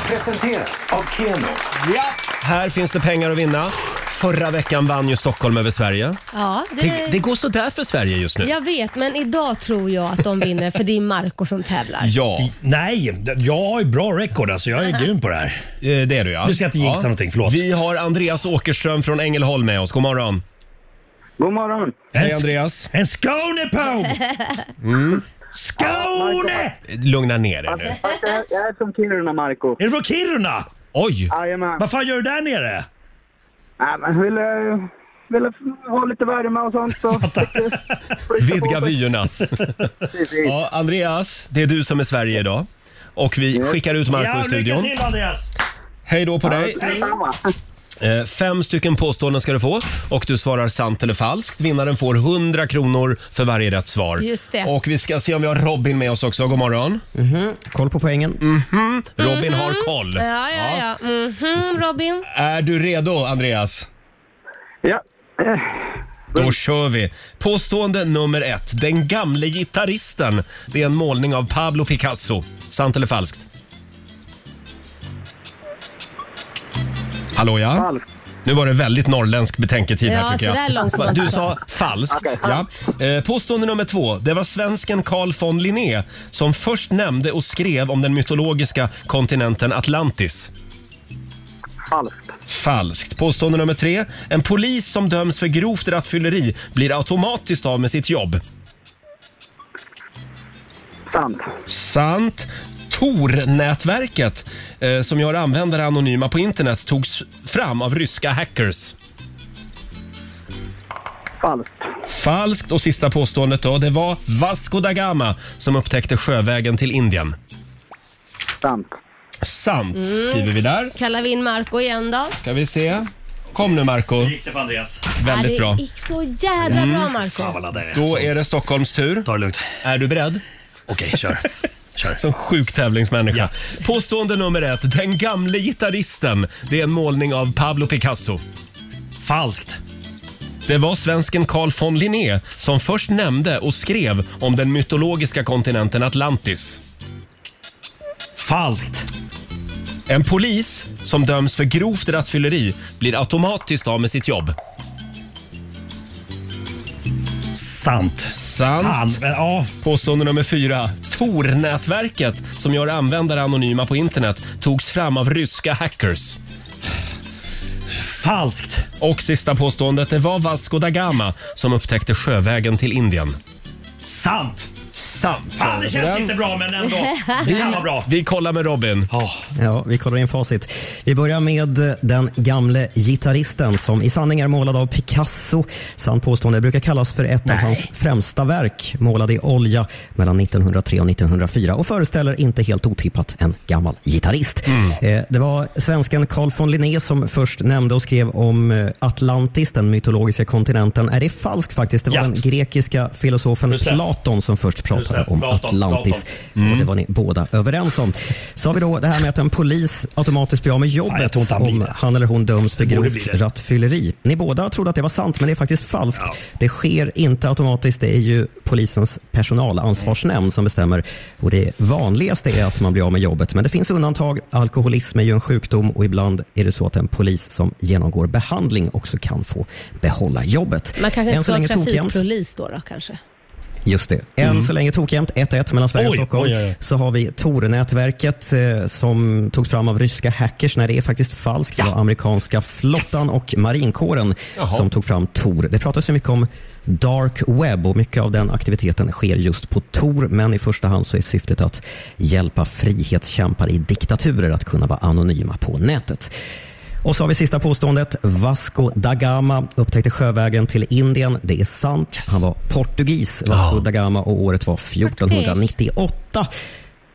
S13: Presenteras av Keno.
S1: Ja. Här finns det pengar att vinna. Förra veckan vann ju Stockholm över Sverige.
S2: Ja, det,
S1: Det, det går sådär för Sverige just nu.
S2: Jag vet, men idag tror jag att de vinner för det är Marco som tävlar.
S1: Ja.
S8: Nej, jag har ju bra rekord alltså. Jag är grym på det här.
S1: Eh, Det är du ja.
S8: Nu ska jag inte jinxa någonting, förlåt.
S1: Vi har Andreas Åkerström från Ängelholm med oss. God morgon.
S16: God morgon.
S1: Hej Andreas.
S8: En Skånepåg!
S1: Mm.
S8: Skåne!
S1: Lugna ner dig nu.
S16: Fast jag, jag är från Kiruna, Marco.
S8: Är du från Kiruna?
S1: Oj!
S16: Jajamän.
S8: Vad fan gör du där nere?
S16: Nej, men vill, eh, vill ha lite värme och sånt så...
S1: Vidga vyerna. ja, Andreas, det är du som är Sverige idag. Och vi skickar ut Marco i studion.
S8: Lycka till Andreas!
S1: Hej då på dig.
S8: Hej.
S1: Eh, Fem stycken påståenden ska du få och du svarar sant eller falskt. Vinnaren får 100 kronor för varje rätt svar.
S2: Just det.
S1: Och vi ska se om vi har Robin med oss också. God morgon.
S17: Mm-hmm.
S1: Mm-hmm.
S17: Koll på poängen.
S1: Robin
S2: Mhm.
S1: har koll.
S2: Ja, ja, ja. Mhm, Robin.
S1: Är du redo, Andreas?
S16: Ja.
S1: Då kör vi. Påstående nummer ett. Den gamle gitarristen. Det är en målning av Pablo Picasso. Sant eller falskt? Hallå ja? Nu var det väldigt norrländsk betänketid här
S2: Ja,
S1: tycker jag.
S2: sådär långt var det
S1: du
S2: inte.
S1: sa falskt.
S2: Okej,
S1: ja. Eh, Påstående nummer två. Det var svensken Carl von Linné som först nämnde och skrev om den mytologiska kontinenten Atlantis.
S16: Falskt.
S1: Falskt. Påstående nummer tre. En polis som döms för grovt rattfylleri blir automatiskt av med sitt jobb.
S16: Sant.
S1: Sant. Tor-nätverket, eh, som gör användare anonyma på internet, togs fram av ryska hackers.
S16: Falskt.
S1: Falskt. Och sista påståendet då. Det var Vasco da Gama som upptäckte sjövägen till Indien.
S16: Sant.
S1: Sant
S2: Mm.
S1: skriver vi där.
S2: Kallar vi in Marco igen då?
S1: Ska vi se. Kom nu Marco.
S8: Gick det för Andreas?
S2: Ja,
S1: Väldigt
S2: det
S1: bra.
S2: gick så jädra
S1: Mm.
S2: bra Marco
S1: Då är det Stockholms tur. Ta
S8: Alltså, det lugnt.
S1: Är du beredd?
S8: Okej, kör. kör.
S1: Som sjuk tävlingsmänniska. Påstående nummer ett. Den gamle gitarristen. Det är en målning av Pablo Picasso.
S8: Falskt.
S1: Det var svensken Carl von Linné som först nämnde och skrev om den mytologiska kontinenten Atlantis.
S8: Falskt.
S1: En polis som döms för grovt rattfylleri blir automatiskt av med sitt jobb.
S8: Sant.
S1: Sant. Påstående nummer fyra. Tor-nätverket som gör användare anonyma på internet togs fram av ryska hackers.
S8: Falskt.
S1: Och sista påståendet. Det var Vasco da Gama som upptäckte sjövägen till Indien.
S8: Sant.
S1: Sant.
S8: Fan, det känns
S1: Den-
S8: inte bra men ändå. Det
S1: Vi,
S8: kan vara bra.
S1: vi kollar med Robin.
S17: Ja, vi kollar in facit. Vi börjar med eh, den gamle gitarristen som i sanning är målad av Picasso. Sant påstående brukar kallas för ett av hans främsta verk, målad i olja mellan 1903 och 1904 och föreställer inte helt otippat en gammal gitarrist.
S18: Mm.
S17: Eh, Det var svensken Carl von Linné som först nämnde och skrev om eh, Atlantis, den mytologiska kontinenten. Är det falskt faktiskt? Det var den grekiska filosofen
S18: Just det.
S17: Platon som först
S18: Just
S8: det.
S17: pratar om
S8: Dalton,
S17: Atlantis.
S8: Mm.
S17: Och det var ni båda överens om. Så har vi då det här med att en polis automatiskt blir av med jobbet om han eller hon döms för
S8: Det borde bli
S17: grovt
S8: det.
S17: rattfylleri. Ni båda trodde att det var sant, men det är faktiskt falskt. Det sker inte automatiskt. Det är ju polisens personalansvarsnämnd som bestämmer. Och det vanligaste är att man blir av med jobbet. Men det finns undantag. Alkoholism är ju en sjukdom och ibland är det så att en polis som genomgår behandling också kan få behålla jobbet.
S18: Man kanske inte
S17: Än så
S18: ska ha
S17: länge tokjämt.
S18: trafikpolis då, då kanske?
S17: Just det. Än
S18: Mm.
S17: så länge tokjämt 1-1 mellan Sverige och
S18: Oj,
S17: Stockholm.
S18: oj, oj, oj.
S17: Så har vi Tor-nätverket eh, som togs fram av ryska hackers. när det är faktiskt falskt. Det var amerikanska flottan och marinkåren
S19: Jaha.
S17: som tog fram Tor. Det pratas ju mycket om dark web och mycket av den aktiviteten sker just på Tor. Men i första hand så är syftet att hjälpa frihetskämpar i diktaturer att kunna vara anonyma på nätet. Och så har vi sista påståendet. Vasco da Gama upptäckte sjövägen till Indien. Det är sant. Han var portugis, Vasco da Gama, och året var 1498.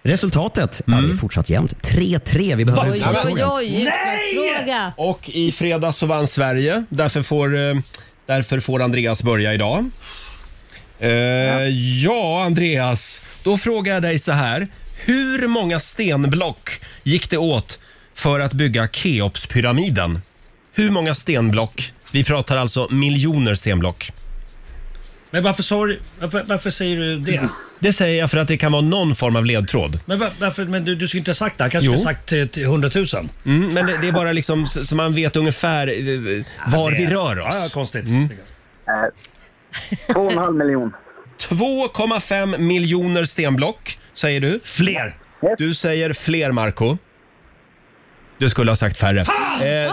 S17: Resultatet? Ja, det är fortsatt jämnt. 3-3. Vi behöver
S18: Oj, oj,
S17: utslagsfrågan.
S18: oj, utslagsfråga.
S1: Och i fredags så vann Sverige. Därför får, eh, därför får Andreas börja idag. Eh, ja. Andreas. Då frågar jag dig så här. Hur många stenblock gick det åt för att bygga Keopspyramiden? Hur många stenblock? Vi pratar alltså miljoner stenblock.
S8: Men varför, sa du- varför, varför säger du det?
S1: Det säger jag för att det kan vara någon form av ledtråd.
S8: Men, var- varför, men du, du skulle inte ha sagt det. Han kanske
S1: Jo.
S8: skulle ha sagt eh, till 100 000.
S1: Mm, men det, det är bara liksom så så man vet ungefär eh, var
S8: det-
S1: vi rör oss. Mm.
S8: Ja, ja, konstigt.
S2: Eh,
S1: Två och en halv miljon. 2,5 miljoner stenblock, säger du.
S8: Fler.
S1: Du säger fler, Marco. Du skulle ha sagt färre. Eh,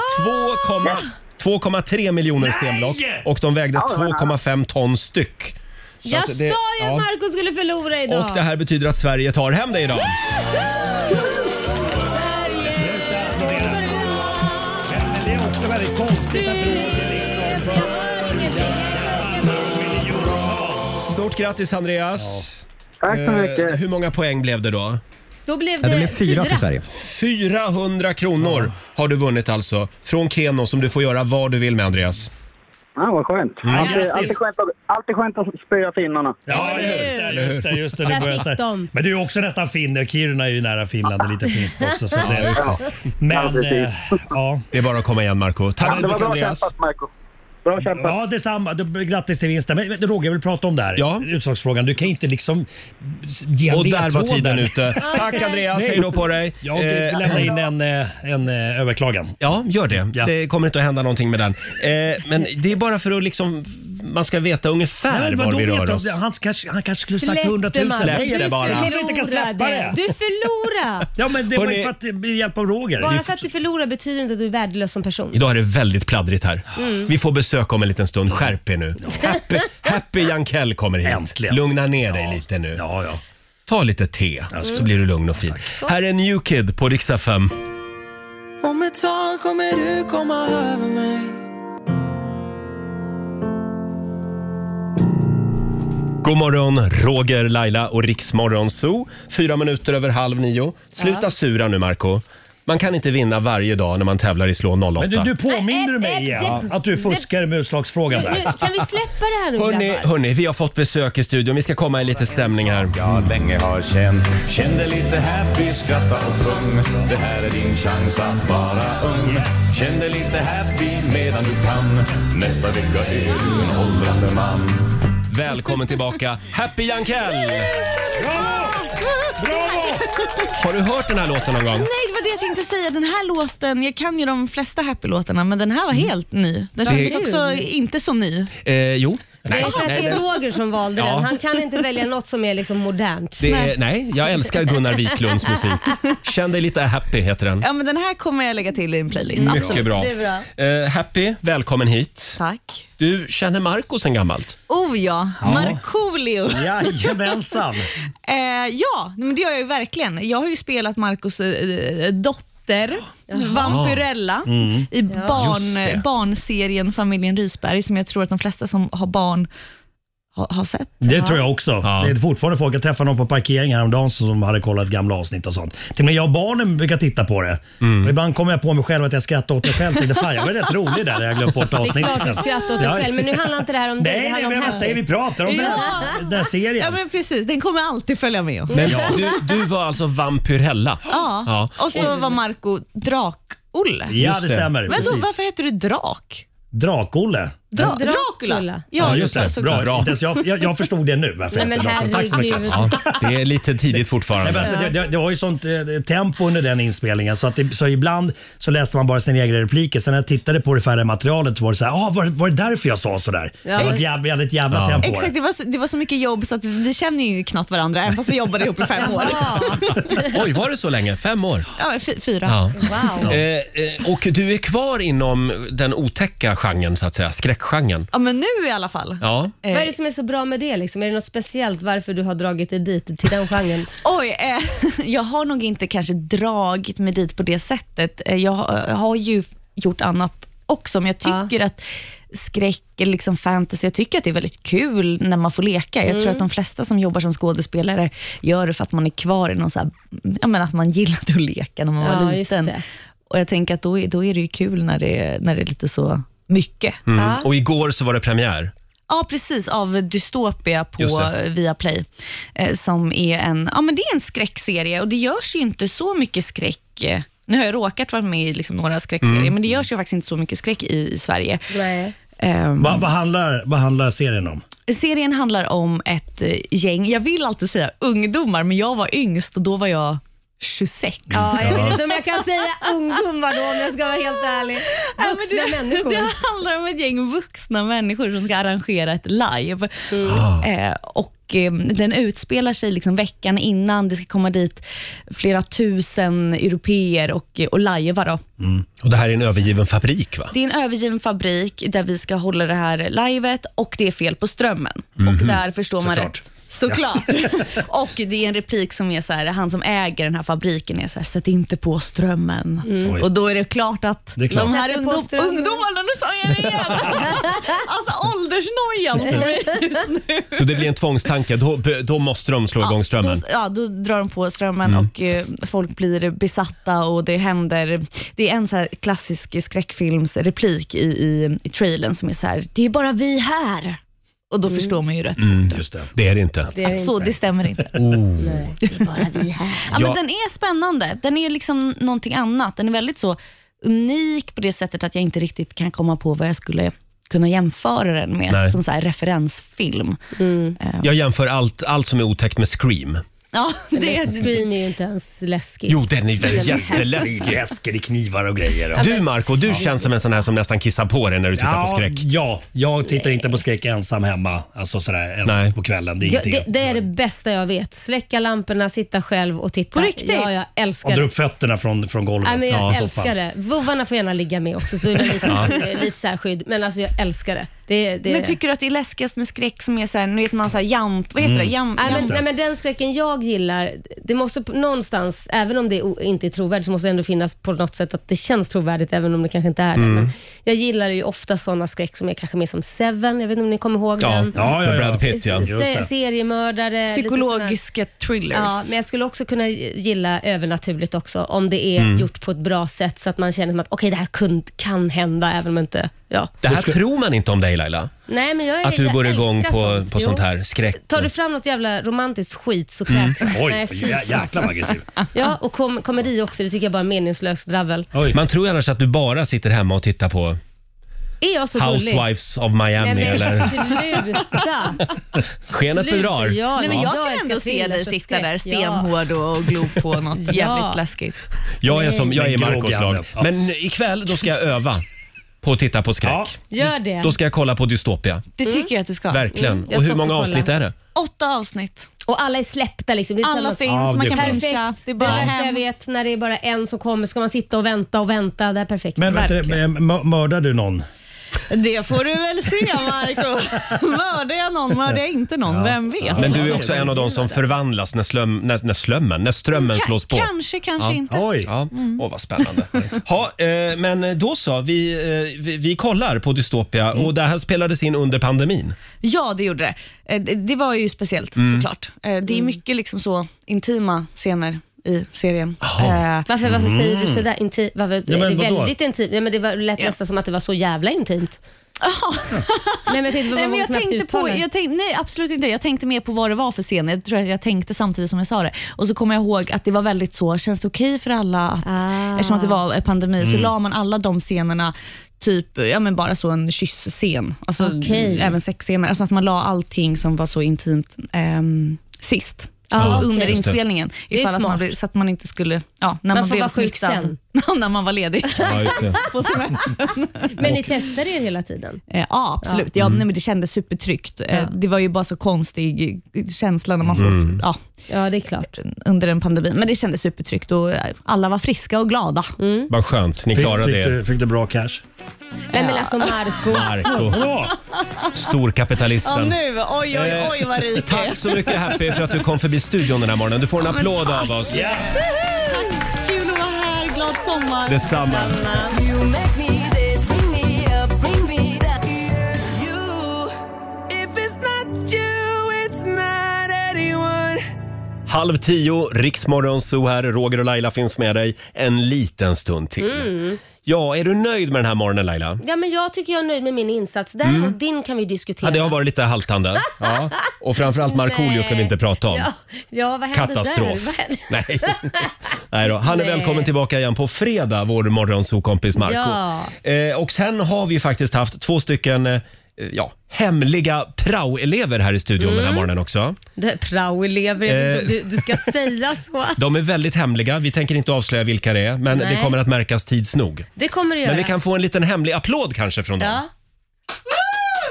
S1: 2,3 2,3 miljoner stenblock och de vägde
S2: Ah! Ja, det var nära.
S1: 2,5 ton styck. Så
S2: Jag
S1: att det-
S2: sa ju
S1: ja.
S2: att Marco skulle förlora idag.
S1: Och det här betyder att Sverige tar hem det idag.
S8: Det är också väldigt konstigt att du liksom...
S1: Stort grattis Andreas. Eh,
S2: Tack så mycket.
S1: hur många poäng blev det då?
S2: Då blev det, fyra.
S1: 400 kronor har du vunnit alltså från Keno som du får göra vad du vill med Andreas.
S16: Ja, vad skönt.
S1: Mm.
S16: Alltid,
S1: Grattis.
S16: alltid, skönt att, alltid skönt att spöa finnarna.
S8: Ja, just det. Just det, just det. Nu
S16: Där
S8: börjar jag
S16: fick
S8: snä-
S16: de.
S8: Men du är också nästan finne. Kiruna är ju nära Finland. Det är lite finskt också. Så det,
S1: Ja, just det.
S8: Men,
S1: precis.
S8: eh, ja.
S1: Det är bara att komma igen Marco. Tack så mycket Andreas.
S16: Marco. Bra kämpat.
S8: Ja, detsamma. Du- Grattis till vinsten. Men men Roger, jag vill prata om det här. Utslagsfrågan. Du kan ju inte liksom ge
S1: Och där var
S8: ledtrådar.
S1: tiden ute. Tack Andreas, hej då på dig.
S8: Jag vill lämna in en, eh, en eh, överklagan.
S1: Ja, gör det. Det kommer inte att hända någonting med den. Eh, men det är bara för att liksom, man ska veta ungefär
S8: Nej,
S1: var
S8: vadå
S1: vi
S8: vet
S1: rör
S8: jag?
S1: oss.
S8: Han kanske, han kanske skulle
S2: Släpp
S8: sagt 100
S2: det,
S8: 000.
S2: Marco.
S1: Släpp
S2: Du
S1: det bara.
S8: Jag kunde inte släppa
S2: förlorade.
S8: det.
S2: Du förlorade.
S8: Ja, men det var ju
S1: Hörrni-
S8: för att eh, med hjälp av Roger.
S2: Bara för att du förlorar betyder inte att du är värdelös som person.
S1: Idag är det väldigt pladdrigt här.
S2: Mm.
S1: Vi får besök om en liten stund. Skärp er nu. Happy, Happy Jankell kommer hit. Lugna ner dig lite nu. Ta lite te så blir du lugn och fin. Här är New Kid på riksdag 5.
S7: Om ett tag kommer du komma över mig
S1: God morgon, Roger, Laila och Riksmorgon Zoo. Fyra minuter över halv nio. Sluta
S2: Ja.
S1: sura nu, Marco. Man kan inte vinna varje dag när man tävlar i Slå 08.
S8: Men du, du påminner du mig
S2: Nej,
S8: igen
S2: eh,
S8: att du
S2: zip-
S8: fuskar med utslagsfrågan
S2: Nu,
S8: där.
S2: kan vi släppa det här nu
S1: Hörni,
S2: grabbar?
S1: hörni, vi har fått besök i studion. Vi ska komma i lite stämning här. Jag länge har känt,
S20: Kände lite happy, skratta och sjung Det här är din chans att vara ung Kände lite happy medan du kan Nästa vecka är du en åldrande man
S1: Välkommen tillbaka, Happy Jankell!
S8: Bravo!
S1: Har du hört den här låten någon gång?
S21: Nej, det var det jag tänkte säga. Den här låten, jag kan ju de flesta Happy-låtarna, men den här var helt ny. Den
S1: Det-
S21: kändes också
S2: Kul.
S21: inte så ny.
S1: Eh, jo.
S2: Det är för att det är
S1: den-
S2: Roger som valde
S1: Ja.
S2: den. Han kan inte välja något som är liksom modernt.
S1: det är, nej, jag älskar Gunnar Wiklunds musik. Känn dig lite happy, heter den.
S21: Ja, men den här kommer jag lägga till i en playlist.
S1: Mycket
S21: Absolut.
S1: bra. Eh, happy, välkommen hit.
S21: Tack.
S1: Du känner Marco sen gammalt?
S21: Oh ja,
S1: Ja.
S21: Markoolio.
S8: Jajamensan.
S21: eh, ja, men det gör jag ju verkligen. Jag har ju spelat Marcos eh, dotter, Vampyrella,
S7: Mm.
S21: i
S7: Ja. Just det.
S21: barn, barnserien Familjen Rysberg, som jag tror att de flesta som har barn ha, ha sett.
S8: Det
S21: Ja.
S8: tror jag också. Det är fortfarande folk. Jag träffade någon på parkeringen häromdagen som hade kollat gamla avsnitt och sånt. Till och med jag och barnen brukar titta på det.
S2: Mm.
S8: Och ibland kommer jag på mig själv att jag skrattar åt mig själv. Tänkte, Fan, jag var rätt rolig där när jag glömt bort
S2: Det är
S8: avsnittet.
S2: klart du skrattar åt dig
S8: Ja.
S2: själv, men nu handlar inte det här om dig.
S8: Nej,
S2: det
S8: nej,
S2: handlar
S8: men
S2: om
S8: jag
S2: Harry.
S8: säger vi pratar om den här-
S21: Ja.
S8: den här serien.
S21: Ja, men precis. Den kommer alltid följa med oss.
S1: Men du, du var alltså vampyrhella?
S21: Ja. och så var Marco Drak-Olle.
S1: Ja, det stämmer,
S21: Men då,
S1: precis.
S21: varför heter du Drak?
S8: Drak-Olle.
S21: Dra-
S8: Ja,
S21: Dracula.
S8: Ja, just det.
S21: såklart.
S8: Bra. Bra. Inte ens Jag, jag, jag förstod det nu. Varför
S21: Nej,
S8: jag
S21: men
S8: heter Drak. Tack så mycket.
S1: Ja, det är lite tidigt fortfarande.
S8: Nej, men alltså, det, det, det var ju sånt eh, tempo under den inspelningen så, att det, så ibland så läste man bara sina egna repliker. Sen när jag tittade på det färdiga materialet var det så här, ah, var, var det därför jag sa sådär? det
S21: Ja,
S8: var ett
S21: just-
S8: jävla, jävligt jävla tempo.
S21: Exakt, det var, så, det var så mycket jobb så att vi känner ju knappt varandra även fast vi jobbade ihop i fem år.
S1: Oj, var det så länge? Fem år?
S21: Ja, fy- fyra.
S1: Ja.
S21: Wow.
S1: Eh, eh, och du är kvar inom den otäcka genren, så att säga. Skräckgenren.
S21: Ja, men nu i alla fall. Eh,
S1: Ja.
S2: Eh.
S1: Mm.
S2: Vad är det som är så bra med det? Liksom? Är det något speciellt varför du har dragit dig dit, till den genren?
S21: Oj, eh, jag har nog inte kanske dragit mig dit på det sättet. Eh, Jag har, jag har ju gjort annat också, men jag tycker att skräck eller liksom fantasy, jag tycker att det är väldigt kul när man får leka. Jag
S19: Mm.
S21: tror att de flesta som jobbar som skådespelare gör det för att man är kvar i någon så här, ja, men att man gillade att leka när man var
S2: Ja, just
S21: liten.
S2: det.
S21: Och jag tänker att då, är- då är det ju kul när det, när det är lite så mycket.
S1: Mm. Och igår så var det premiär.
S21: Ja, precis. Av Dystopia
S1: Just
S21: på
S1: det.
S21: Viaplay. eh, Som är en, ja, men det är en skräckserie och det görs ju inte så mycket skräck. eh, Nu har jag råkat vara med i liksom några skräckserier,
S8: Mm.
S21: men det görs ju faktiskt inte så mycket skräck i, i Sverige.
S2: Nej. Ehm.
S8: Vad, vad, handlar, vad handlar serien om?
S21: Serien handlar om ett eh, gäng, jag vill alltid säga ungdomar, men jag var yngst och då var jag 26.
S2: Ja, jag vet inte om jag kan säga ungdomar då om jag ska vara helt ärlig.
S21: Ja, men
S2: Vuxna
S21: det,
S2: människor.
S21: Det handlar om ett gäng vuxna människor som ska arrangera ett live.
S2: Ah.
S21: Eh, och eh, Den utspelar sig liksom veckan innan. Det ska komma dit flera tusen europeer och, och lajva. Då.
S8: Mm.
S1: Och det här är en övergiven fabrik, va?
S21: Det är en övergiven fabrik där vi ska hålla det här livet och det är fel på strömmen.
S1: Mhm.
S21: Och där förstår man
S1: Såklart.
S21: rätt. Såklart. och det är en replik som är så här, han som äger den här fabriken är så här, sätt inte på strömmen. Mm. Oj. Och då är det klart att Det är klart. de här Sätter på ungdom, strömmen. ungdomarna, nu sa jag det igen. alltså åldersnojan på mig just nu.
S1: Så det blir en tvångstanke. Då, då måste de slå igång strömmen.
S21: Då, ja, då drar de på strömmen
S1: Mm.
S21: och eh, folk blir besatta och det händer. Det är en så här klassisk skräckfilmsreplik i, i, i trailern som är så här, det är bara vi här. Och då förstår man ju rätt.
S1: Mm, det. är det inte.
S21: att så, det stämmer inte.
S1: Oh.
S21: Ja,
S1: Ja.
S21: men den är spännande. Den är liksom någonting annat. Den är väldigt så unik på det sättet att jag inte riktigt kan komma på vad jag skulle kunna jämföra den med
S1: Nej.
S21: som så här referensfilm. Eh,
S1: Jag jämför allt, allt som är otäckt med Scream.
S21: Ja, det
S2: Men
S21: är
S2: Screen är ju inte ens läskig.
S1: Jo, den är väl
S8: Det är
S1: jätteläskig.
S8: läsker, det är knivar och grejer. och-
S1: Du Marco, du känns som en sån här som nästan kissar på dig när du tittar
S8: ja,
S1: på skräck.
S8: Ja, jag tittar inte på skräck ensam hemma alltså sådär, en- på kvällen. Det är
S2: Ja,
S8: ingenting.
S2: det, det är det bästa jag vet. Släcka lamporna, sitta själv och titta. På riktigt? Ja, jag
S8: Och
S2: älskar
S8: dra
S2: det.
S8: upp fötterna från, från golvet.
S2: Nej, men jag
S8: Ja,
S2: älskar
S8: soffan.
S2: det. Vovvarna får gärna ligga med också, så det är lite,
S8: Ja.
S2: eh, lite särskydd. Men alltså jag älskar det. det, det
S21: Men tycker du att det är läskigast med skräck som är så här, nu vet man så här jump, vad
S1: Mm.
S21: heter det? Jump,
S2: Nej, men,
S21: jump.
S2: nej, men den skräcken jag gillar, det måste på- någonstans, även om det o- inte är trovärdigt, så måste det ändå finnas på något sätt att det känns trovärdigt, även om det kanske inte är det.
S1: Mm.
S2: Men jag gillar ju ofta sådana skräck som är kanske mer som Seven, jag vet inte om ni kommer ihåg
S1: Ja,
S2: den?
S1: ja, ja, ja. Brad Pitt, ja.
S2: Se-
S1: Just det.
S2: seriemördare. lite
S21: Psykologiska thrillers.
S2: Ja, men jag skulle också kunna gilla övernaturligt också, om det är
S1: Mm.
S2: gjort på ett bra sätt så att man känner som att okej, det här kun, kan hända, även om inte... Ja.
S1: Det här tror man inte om dig Laila.
S2: Nej, men jag är,
S1: Att du
S2: jag
S1: går igång
S2: älskar
S1: på,
S2: sånt.
S1: på
S2: Jo.
S1: sånt här. Skräck.
S2: Tar du fram något jävla romantiskt skit så
S1: Mm.
S2: kräks jag.
S1: Oj,
S2: Nej, fy
S1: jä-
S2: fasen.
S1: jäklar vad aggressiv.
S2: Ja, och kom, komedi också. Det tycker jag bara är meningslöst dravel.
S1: Man tror ju annars att du bara sitter hemma och tittar på
S2: Är jag så gullig?
S1: Housewives of Miami
S2: Nej, men
S1: eller
S2: sluta!
S1: Skenet
S2: sluta,
S1: bedrar.
S2: ja.
S21: Nej, men
S2: Ja.
S21: jag
S2: Jag
S21: kan
S2: älskar
S21: ändå se
S2: thrillers
S21: dig
S2: och
S21: sitta där
S2: skräck, ja.
S21: stenhård och, och glo på något
S2: Ja.
S21: jävligt läskigt.
S1: Jag är, som, jag är
S8: Men grå
S1: Marcos
S8: granne.
S1: lag.
S8: Ja.
S1: Men ikväll då ska jag öva på att titta på skräck.
S21: Gör det.
S1: Då ska jag kolla på Dystopia.
S21: Det tycker jag att du ska.
S1: Verkligen. och hur många avsnitt är det?
S21: Åtta avsnitt.
S2: Och alla är släppta. Liksom. Det är
S21: Alla
S2: samma-
S21: finns, Ja, man det kan är perfekt. bincha, det
S2: perfekt. Det
S21: är
S2: är
S21: bara
S2: det värsta
S21: hem.
S2: jag vet, när det är bara en som kommer ska man sitta och vänta och vänta. Det är perfekt.
S8: Men vet du, mö- mördar du någon?
S21: Det får du väl se Marco. Mördar jag någon, mördar jag inte någon, vem vet?
S1: Men du är också en av de som förvandlas när, slöm, när, när slömmen, när strömmen
S21: Ka-
S1: slås på.
S21: kanske, kanske inte.
S1: Oj.
S21: Oj.
S1: Ja.
S21: Mm.
S1: Åh, vad spännande. ha, eh, men då så, vi, eh, vi, vi kollar på Dystopia och det här spelades in under pandemin.
S21: Ja, det gjorde det. Eh, det- Det var ju speciellt
S1: Mm.
S21: såklart. Eh, Det är mycket liksom så intima scener i serien. Eh,
S2: Varför, varför säger du sådär intimt? Varför,
S21: Ja, men
S2: är det
S21: vadå?
S2: väldigt intimt. Ja, men det var, lät nästan som att det var så jävla intimt. Nej, men jag tänkte,
S21: Nej, men jag tänkte på,
S2: jag
S21: jag tänkte, nej, absolut inte. Jag tänkte mer på vad det var för scen. Jag tror att jag tänkte samtidigt som jag sa det. Och så kommer jag ihåg att det var väldigt så, känns det okej för alla? Att,
S2: Ah.
S21: Eftersom att det var eh, pandemi så
S2: Mm.
S21: la man alla de scenerna Typ ja, men bara så en kyss-scen, alltså,
S2: Okej.
S21: även sexscener. Alltså att man la allting som var så intimt ehm, sist.
S2: Ah,
S21: under
S2: okej.
S21: inspelningen.
S2: Det är
S21: Ifall att man
S2: smart.
S21: blev, så att man inte skulle, ja, när
S2: Man
S21: man,
S2: får
S21: blev
S2: vara sjuk
S21: smittad.
S2: sen.
S21: när man var ledig.
S2: Ja, just det.
S21: På semester.
S2: men ni testade er hela tiden?
S21: Eh, Ja, absolut. Ja.
S2: Mm.
S21: nej, men det kändes supertryggt. Eh, Det var ju bara så konstig eh, känsla när man får...
S2: Mm.
S21: Ja.
S2: ja, det är klart.
S21: Under den pandemin. Men det kändes supertryggt och eh, alla var friska och glada.
S2: Mm.
S1: Vad skönt, ni
S8: Fick-
S1: klarade
S8: fick
S1: det.
S8: du- fick du bra cash?
S21: Nej, men
S2: alltså Marco.
S1: Marco.
S21: Ja,
S1: Storkapitalisten. Eh,
S21: nu. Oj, oj, oj vad rik jag är.
S1: Tack så mycket Happy för att du kom förbi studion den här morgonen. Du får en applåd av oss.
S21: Tack. Kul att vara här. Glad sommar.
S1: Detsamma.
S7: You make me this, bring me up, bring me down. You, if it's not you, it's not anyone.
S1: Halv tio, Riksmorgon Zoo här. Roger och Laila finns med dig en liten stund till.
S2: Mm.
S1: Ja, är du nöjd med den här morgonen Laila?
S2: Ja, men jag tycker jag är nöjd med min insats. Däremot
S1: Mm.
S2: din kan vi diskutera.
S1: Ja, det har varit lite haltande. Ja. Och framförallt Markoolio ska vi inte prata om.
S2: Ja, ja vad hände
S1: Katastrof.
S2: där? Vad hände?
S1: Nej. Nej då. Han är
S2: Nej.
S1: välkommen tillbaka igen på fredag, vår morgonsokompis Marco.
S2: Ja.
S1: Eh, och sen har vi ju faktiskt haft två stycken eh, ja, hemliga prao-elever här i studion den här
S2: Mm.
S1: morgonen också.
S2: Det, praoelever, jag vet
S1: Eh.
S2: inte om du, du ska säga så.
S1: De är väldigt hemliga. Vi tänker inte avslöja vilka det är, men
S2: Nej.
S1: det kommer att märkas tids nog.
S2: Det kommer det göra.
S1: Men vi kan få en liten hemlig applåd kanske från dem.
S2: Ja.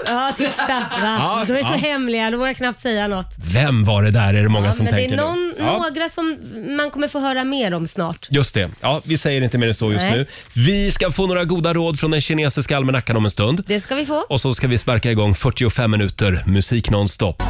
S2: Ja, titta. Va?
S1: Ja,
S2: de är så
S1: ja.
S2: hemliga, då vågar jag knappt säga något.
S1: Vem var det där, är det många
S2: Ja,
S1: som
S2: men det
S1: tänker
S2: är någon,
S1: nu. Ja.
S2: några som man kommer få höra mer om snart.
S1: Just det. Ja, vi säger inte mer än så just
S2: Nej.
S1: nu. Vi ska få några goda råd från den kinesiska almanackan om en stund.
S2: Det ska vi få.
S1: Och så ska vi sparka igång 45 minuter musik nonstop.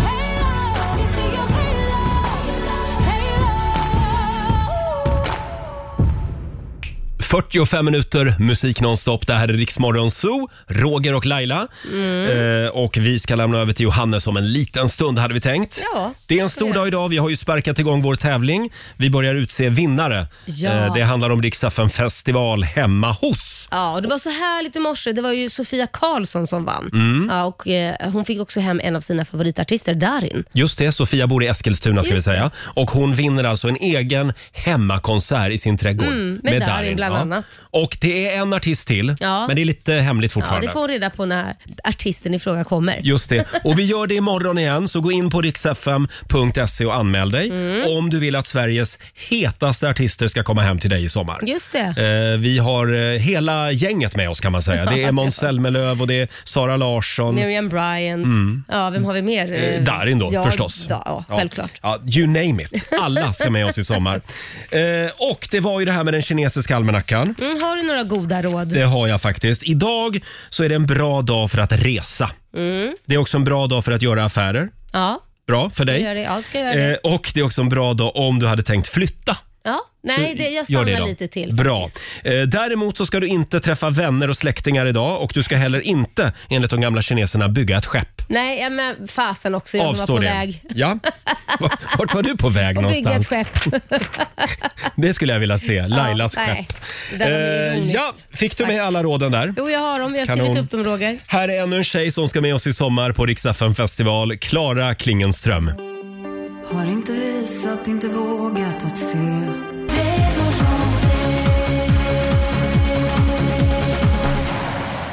S1: ...45 minuter musik nonstop. Det här är Riksmorgon Zoo, Roger och Laila.
S2: Mm.
S1: Eh, och vi ska lämna över till Johannes om en liten stund hade vi tänkt.
S2: Ja,
S1: det är en stor dag idag. Vi har ju sparkat igång vår tävling. Vi börjar utse vinnare.
S2: Ja.
S1: Eh, det handlar om Riksdagen festival hemma hos.
S2: Ja, och det var så härligt i morse. Det var ju Sofia Karlsson som vann.
S1: Mm.
S2: Ja, och, eh, hon fick också hem en av sina favoritartister, Darin.
S1: Just det, Sofia bor i Eskilstuna ska vi
S2: Just det.
S1: säga. Och hon vinner alltså en egen hemmakonsert i sin trädgård.
S2: Mm, med Darin bland annat.
S1: Och det är en artist till,
S2: Ja.
S1: men det är lite hemligt
S2: Ja,
S1: fortfarande.
S2: det får hon reda på när artisten i fråga kommer.
S1: Just det. Och vi gör det imorgon igen, så gå in på riksfm.se och anmäl dig
S2: Mm.
S1: om du vill att Sveriges hetaste artister ska komma hem till dig i sommar.
S2: Just det.
S1: Eh, vi har eh, hela gänget med oss kan man säga. Det
S2: Ja,
S1: är Måns Zelmerlöw och det är Sara Larsson.
S2: Miriam Bryant.
S1: Mm.
S2: Ja, vem har vi mer?
S1: Eh, Darin då,
S2: ja,
S1: förstås.
S2: Ja, ja, självklart.
S1: Ja, you name it. Alla ska med oss i sommar. Eh, och det var ju det här med den kinesiska almanackan.
S2: Mm, har du några goda råd?
S1: Det har jag faktiskt. Idag så är det en bra dag för att resa.
S2: Mm.
S1: Det är också en bra dag för att göra affärer.
S2: Ja,
S1: Bra för
S2: ska
S1: dig.
S2: jag göra det? Ja, ska jag göra
S1: Eh,
S2: det?
S1: och det är också en bra dag om du hade tänkt flytta.
S2: Ja, nej,
S1: Så
S2: det, jag
S1: gör det
S2: stannar
S1: då.
S2: lite till.
S1: Bra.
S2: faktiskt.
S1: Eh, däremot så ska du inte träffa vänner och släktingar idag och du ska heller inte, enligt de gamla kineserna, bygga ett skepp.
S2: Nej, ja, men fasen också. Jag
S1: Avstå
S2: var på
S1: det.
S2: väg.
S1: Ja. Vart var du på väg
S2: Och bygga ett
S1: någonstans?
S2: skepp.
S1: Det skulle jag vilja se. Lailas
S2: Ja, nej.
S1: skepp.
S2: Det där var mer
S1: Eh,
S2: ironiskt.
S1: ja, fick du med alla råden där?
S2: Jo, jag har dem. Jag har
S1: Kanon.
S2: skrivit upp dem, Roger.
S1: Här är ännu en tjej som ska med oss i sommar på Riksdagen festival. Klara Klingenström.
S10: Har inte visat, inte vågat att se.
S1: Mm.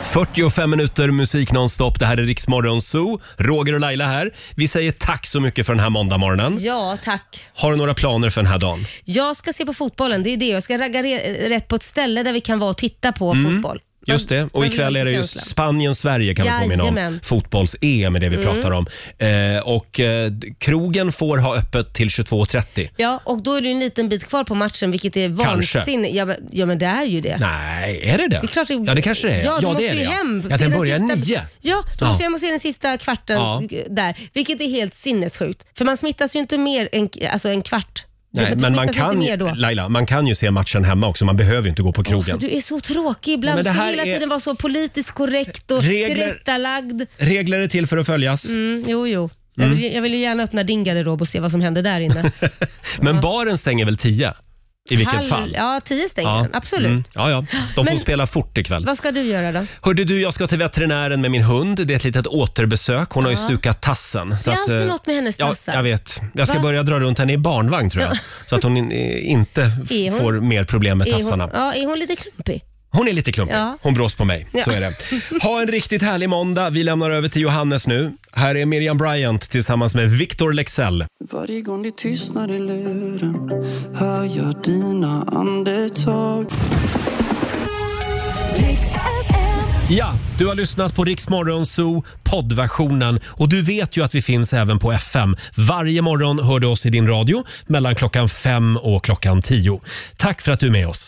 S1: 45 minuter musik nonstop. Det här är Riksmorgon Zoo. Roger och Laila här. Vi säger tack så mycket för den här måndagmorgonen.
S2: Ja, tack.
S1: Har du några planer för den här dagen?
S2: Jag ska se på fotbollen. Det är det. Jag ska ragga re- rätt på ett ställe där vi kan vara och titta på
S1: Mm.
S2: fotboll.
S1: Just det, och ikväll är det ju
S2: känsla.
S1: Spanien-Sverige kan vi påminna om.
S2: Jajamän.
S1: Fotbolls-EM är det vi
S2: Mm.
S1: pratar om. Eh, och eh, d- krogen får ha öppet till 22.30.
S2: Ja, och då är det ju en liten bit kvar på matchen, vilket är
S1: Kanske.
S2: vansinnigt. Ja, men- ja, men det är ju det.
S1: Nej, är det det?
S2: Det är klart det-
S1: Ja, det kanske det är.
S2: Ja, du måste
S1: det är
S2: ju
S1: det,
S2: hem.
S1: Ja,
S2: Se
S1: den
S2: den
S1: börjar
S2: sista-
S1: nio.
S2: Ja, då
S1: Ja.
S2: måste jag se den sista kvarten
S1: Ja.
S2: där, vilket är helt sinnessjukt. För man smittas ju inte mer än alltså en kvart. Du
S1: Nej, men man
S2: smittas
S1: kan,
S2: inte mer då.
S1: Laila, man kan ju se matchen hemma också. Man behöver ju inte gå på
S2: Så
S1: krogen.
S2: du är så tråkig ibland.
S1: Nej, men
S2: Du
S1: det
S2: ska
S1: här
S2: hela
S1: är-
S2: tiden vara så politiskt korrekt och
S1: Regler-
S2: tillrättalagd.
S1: Regler är till för att följas.
S2: Mm, jo, jo. Jag
S1: Mm.
S2: vill, ju- jag vill ju gärna öppna din garderob och se vad som händer där inne.
S1: Men baren stänger väl 10? I vilket
S2: Halv-
S1: fall?
S2: Ja, tio stänger
S1: Ja.
S2: den. Absolut.
S1: Mm. Ja, ja. De får
S2: Men-
S1: spela fort ikväll.
S2: Vad ska du göra då?
S1: Hörde du, jag ska till veterinären med min hund. Det är ett litet återbesök. Hon har ju
S2: Ja.
S1: stukat tassen.
S2: Det är alltid
S1: eh,
S2: något med hennes
S1: ja,
S2: tassar.
S1: Jag vet. Jag ska
S2: Va?
S1: börja dra runt henne i barnvagn tror jag.
S2: Ja.
S1: Så att hon in, eh, inte f-
S2: Är hon-
S1: får mer problem med
S2: Är hon,
S1: tassarna.
S2: ja, är hon lite klumpig?
S1: Hon är lite klumpig.
S2: Ja.
S1: Hon brås på mig.
S2: Ja.
S1: Så är det. Ha en riktigt härlig måndag. Vi lämnar över till Johannes nu. Här är Miriam Bryant tillsammans med Victor Lexell.
S19: Varje gång det tystnar i luren hör jag dina andetag
S1: Ja, du har lyssnat på Rix Morgon Zoo poddversionen och du vet ju att vi finns även på FM. Varje morgon hör du oss i din radio mellan klockan fem och klockan tio. Tack för att du är med oss.